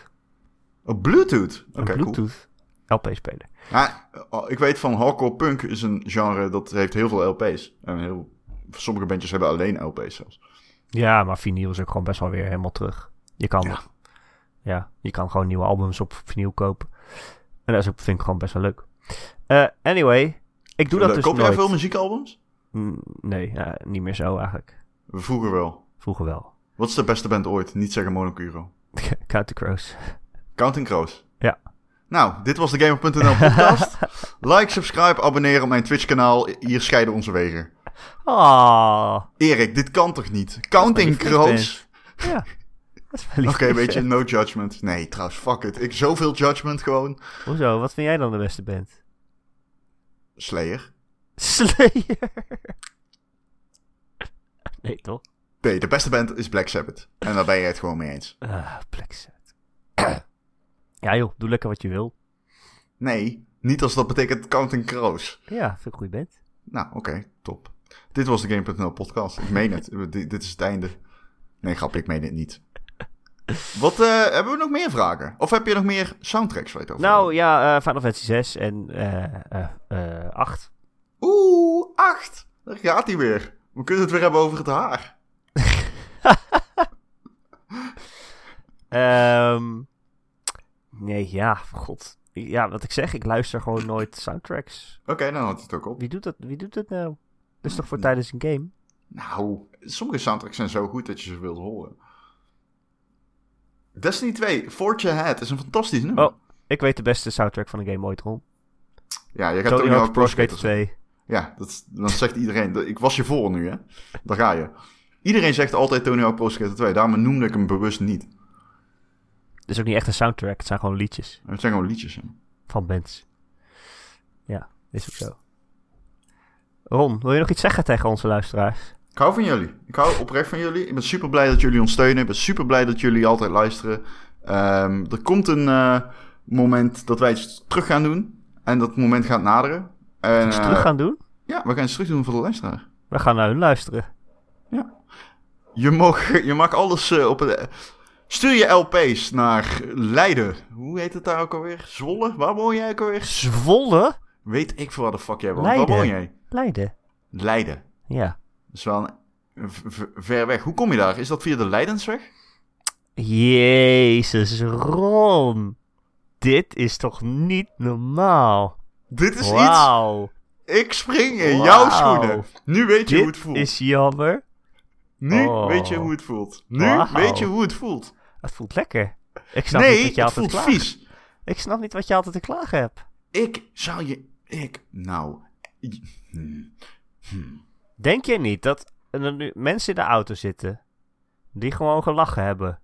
Oh, Bluetooth. Oké, Een cool. Bluetooth LP-speler. Ja, oh, ik weet van hardcore punk is een genre dat heeft heel veel LP's. En heel, sommige bandjes hebben alleen LP's zelfs. Ja, maar vinyl is ook gewoon best wel weer helemaal terug. Je kan, Ja. ja. je kan gewoon nieuwe albums op vinyl kopen. En dat is ook, vind ik gewoon best wel leuk. Eh, anyway, ik doe dat Leuk. dus Eh, Koop jij nooit. veel muziekalbums? Mm, Nee, ja, niet meer zo eigenlijk. Vroeger wel. Vroeger wel. Wat is de beste band ooit? Niet zeggen Monocuro. Counter Crows. Counting Crows. Ja. Nou, dit was de Gamer.nl podcast. like, subscribe, abonneer op mijn Twitch kanaal. Hier scheiden onze wegen. Ah, Erik, dit kan toch niet? Counting Dat is maar lief dat Crows? ja. Dat is wel Oké, lief. weet je, no judgment. Nee, trouwens, fuck it. Ik zoveel judgment gewoon. Hoezo, wat vind jij dan de beste band? Slayer. Slayer. Nee, toch? Nee, de beste band is Black Sabbath. En daar ben je het gewoon mee eens. Ah, Black Sabbath. ja joh, doe lekker wat je wil. Nee, niet als dat betekent Counting Crows. Ja, vind ik een goede band. Nou, oké, top. Dit was de Game.nl podcast. Ik meen het. D- dit is het einde. Nee, grap, ik meen het niet. Wat, eh, hebben we nog meer vragen? Of heb je nog meer soundtracks waar je het over Nou wil? ja, eh Final Fantasy 6 en eh eh eh 8. Oeh, acht. Daar gaat hij weer. We kunnen het weer hebben over het haar. Ehm, nee, ja, god. Ja, wat ik zeg, ik luister gewoon nooit soundtracks. Oké, nou dan houdt het ook op. Wie doet dat, Wie doet dat nou? Dat is toch voor tijdens een game? Nou, sommige soundtracks zijn zo goed dat je ze wilt horen. Destiny 2, Forge Ahead, is een fantastisch nummer. Oh, ik weet de beste soundtrack van een game ooit, Ron. ja, je gaat Tony Tony Hawk Hawk Pro Pro Skater Skater 2. Ja, dat, dat zegt iedereen. Ik was je voor nu, hè? Daar ga je. Iedereen zegt altijd Tony Hawk Pro Skater 2. Daarom noemde ik hem bewust niet. Dat is ook niet echt een soundtrack, het zijn gewoon liedjes Het zijn gewoon liedjes. Hè? van bands. Ja, is ook zo. Ron, wil je nog iets zeggen tegen onze luisteraars? Ik hou van jullie. Ik hou oprecht van jullie. Ik ben super blij dat jullie ons steunen. Ik ben super blij dat jullie altijd luisteren. Ehm, er komt een eh, moment dat wij iets terug gaan doen. En dat moment gaat naderen. En, Iets eh, terug gaan doen? Ja, we gaan iets terug doen voor de luisteraar. We gaan naar hun luisteren. Je mag, je mag alles eh, op het. Stuur je LP's naar Leiden. Hoe heet het daar ook alweer? Zwolle? Waar woon jij ook alweer? Zwolle? Weet ik veel waar de fuck jij woont. Leiden. Waar woon jij? Leiden. Leiden. Ja. Dat is wel een, v- v- ver weg. Hoe kom je daar? Is dat via de Leidensweg? Jezus, Ron. Dit is toch niet normaal? Dit is iets. Wauw. Ik spring in Wauw. jouw schoenen. Nu weet je hoe het Dit voelt. is jammer. Nu Oh. weet je hoe het voelt. Nu Wauw. weet je hoe het voelt. Het voelt lekker. Ik snap niet nee, wat je het altijd voelt te klagen vies. Ik snap niet wat je altijd te klagen hebt. Ik zou je. Ik. Nou. Hmm. Denk je niet dat er nu mensen in de auto zitten die gewoon gelachen hebben?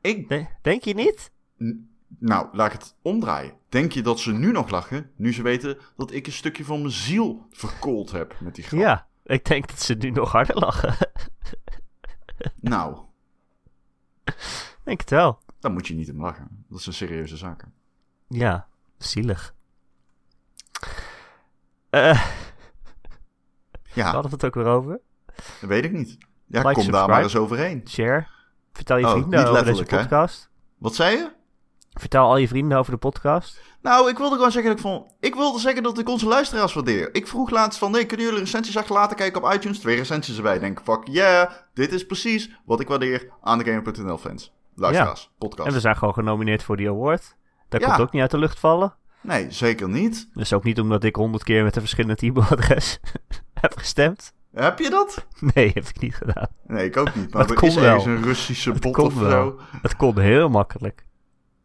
Ik. De- Denk je niet? Nou, laat ik het omdraaien. Denk je dat ze nu nog lachen? Nu ze weten dat ik een stukje van mijn ziel verkoold heb met die grap. Ja, ik denk dat ze nu nog harder lachen. Nou, denk het wel. dan moet je niet om lachen. Dat zijn serieuze zaken. Ja, zielig. Eh, Ah. Ja. hadden we het ook weer over? Dat weet ik niet. Ja, Like, kom daar subscribe. maar eens overheen. Share. Vertel je Oh, vrienden niet over deze letterlijk, hè? podcast. Wat zei je? Vertel al je vrienden over de podcast. Nou, ik wilde gewoon zeggen dat ik van... Ik wilde zeggen dat ik onze luisteraars waardeer. Ik vroeg laatst van... Nee, kunnen jullie recensies achterlaten? Kijk op iTunes. Twee recensies erbij. Ik Denk, fuck yeah. Dit is precies wat ik waardeer aan de Gamer.nl fans. Luisteraars. Podcast. En we zijn gewoon genomineerd voor die award. Dat Ja. komt ook niet uit de lucht vallen. Nee, zeker niet. Dus ook niet omdat ik honderd keer met een verschillend e-mailadres heb gestemd. Heb je dat? Nee, heb ik niet gedaan. Nee, ik ook niet. Maar Dat er is kon wel. ergens een Russische bot kon of wel. zo. Het kon heel makkelijk.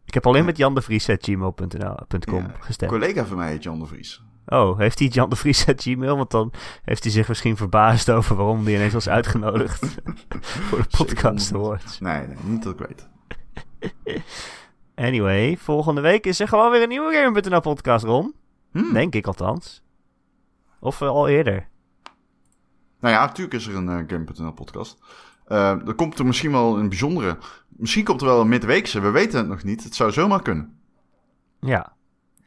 Ik heb alleen met jandevries.gmail.com Ja, Een gestemd. collega van mij heet Jan de Vries. Oh, heeft hij Jan de Vries uit Gmail? Want dan heeft hij zich misschien verbaasd over waarom hij ineens was uitgenodigd voor de podcast Zeker. awards. Nee, nee, niet dat ik weet. Anyway, volgende week is er gewoon weer een nieuwe Gamer.nl podcast, Ron. Hmm. Denk ik althans. Of eh, al eerder. Nou ja, natuurlijk is er een eh, Game.nl podcast. Eh, er komt er misschien wel een bijzondere. Misschien komt er wel een midweekse, we weten het nog niet. Het zou zomaar kunnen. Ja,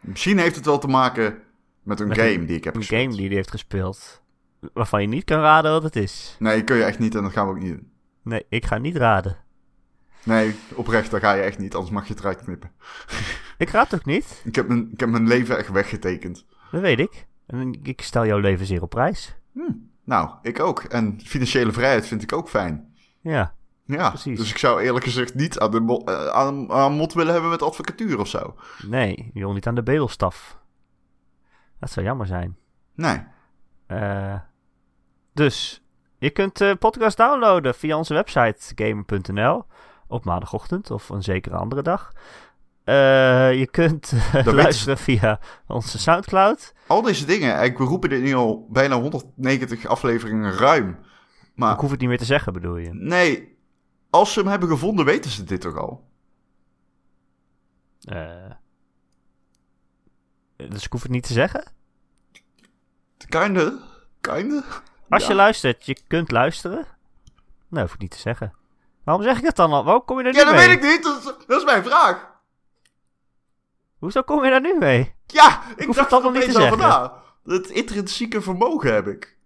Misschien heeft het wel te maken met een Met game die ik heb een gespeeld. game die hij heeft gespeeld. Waarvan je niet kan raden wat het is. Nee, kun je echt niet en dat gaan we ook niet doen. Nee, ik ga niet raden. Nee, oprecht, dat ga je echt niet, anders mag je het eruit knippen. Ik raad toch niet? Ik heb mijn, ik heb mijn leven echt weggetekend. Dat weet ik. En ik stel jouw leven zeer op prijs. Nou, ik ook. En financiële vrijheid vind ik ook fijn. Ja, Ja, Precies. dus ik zou eerlijk gezegd niet aan, de mo- eh, aan, aan mot willen hebben met advocatuur of zo. nee, joh, niet aan de bedelstaf. Dat zou jammer zijn. Nee. Eh, dus, je kunt de podcast downloaden via onze website gamer.nl op maandagochtend of een zekere andere dag. Eh, je kunt eh, weten ze. luisteren via onze Soundcloud. Al deze dingen, eigenlijk, we roepen dit nu al bijna 190 afleveringen ruim. Ik Maar hoef het niet meer te zeggen, bedoel je? nee, als ze hem hebben gevonden, weten ze dit toch al? Eh, dus ik hoef het niet te zeggen? Kinder, kinder. Als Ja. je luistert, je kunt luisteren. Nou, hoef ik niet te zeggen. Waarom zeg ik dat dan al? Waarom kom je er nu Ja, dat mee? weet ik niet. Dat is, dat is mijn vraag. Hoezo kom je daar nu mee? Ja, ik hoef dacht het er allemaal niet opeens te over zeggen. na. Het intrinsieke vermogen heb ik.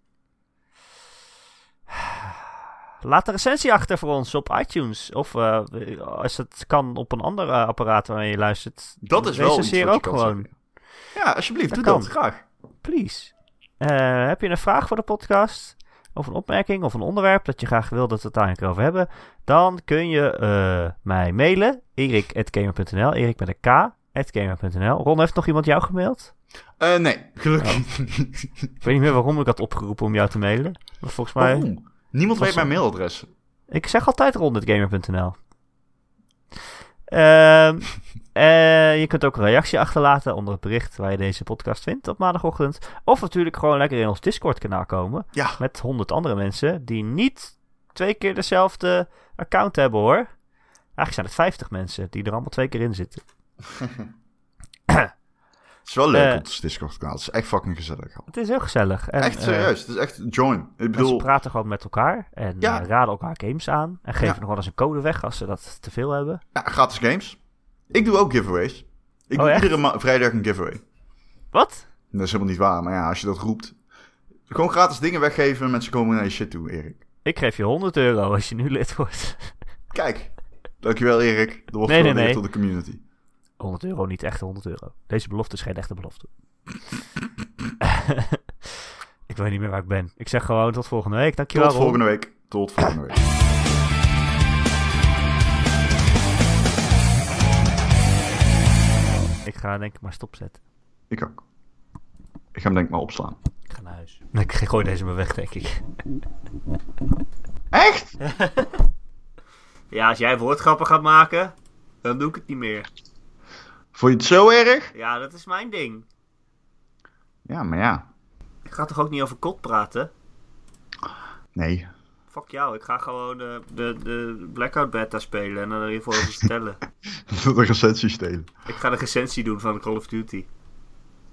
Laat een recensie achter voor ons op iTunes. Of eh, als het kan op een ander eh, apparaat waarmee je luistert. Dat is wel iets wat Recenseer je ook kan gewoon. zeggen. Ja, alsjeblieft, Dat doe kan. dat graag. Please. Eh, heb je een vraag voor de podcast? Of een opmerking of een onderwerp dat je graag wil dat we het daar een keer over hebben? Dan kun je eh, mij mailen. erik.gamer.nl Erik met een k. at gamer.nl. Ron, heeft nog iemand jou gemaild? Eh, nee, gelukkig niet. Ik weet niet meer waarom ik had opgeroepen om jou te mailen. Maar volgens Oh, mij... Waarom? Niemand Was weet mijn zo. mailadres. Ik zeg altijd rond.gamer.nl. Ehm eh, je kunt ook een reactie achterlaten onder het bericht waar je deze podcast vindt op maandagochtend. Of natuurlijk gewoon lekker in ons Discord-kanaal komen. Ja. Met honderd andere mensen die niet twee keer dezelfde account hebben hoor. Eigenlijk zijn het 50 mensen die er allemaal twee keer in zitten. Het is wel leuk Eh. op het Discord-kanaal. Het is echt fucking gezellig. Het is heel gezellig. En, Echt eh, serieus, het is echt join. Ik mensen bedoel, praten gewoon met elkaar en Ja. eh, raden elkaar games aan. En geven Ja. nog wel eens een code weg als ze dat te veel hebben. ja, gratis games. Ik doe ook giveaways. Ik Oh, doe echt? iedere ma- vrijdag een giveaway. Wat? Dat is helemaal niet waar, maar ja, als je dat roept. Gewoon gratis dingen weggeven, mensen komen naar je shit toe, Erik. Ik geef je 100 euro als je nu lid wordt. Kijk, dankjewel Erik. Dat wordt Nee, nee, nee, nee. tot de community. 100 euro, niet echt 100 euro. Deze belofte is geen echte belofte. ik weet niet meer waar ik ben. Ik zeg gewoon tot volgende week. Dankjewel. Tot Ron. volgende week. Tot volgende week. Ik ga denk ik maar stopzetten. Ik ook. Ik ga hem denk ik maar opslaan. Ik ga naar huis. Ik gooi deze maar weg, denk ik. Echt? Ja, als jij woordgrappen gaat maken, dan doe ik het niet meer. Vond je het zo erg? Ja, dat is mijn ding. Ja, maar ja. Ik ga toch ook niet over kot praten? Nee. Fuck jou, ik ga gewoon eh, de, de Blackout Beta spelen en dan er hiervoor over vertellen. Dat is een recensie stelen. ik ga de recensie doen van Call of Duty.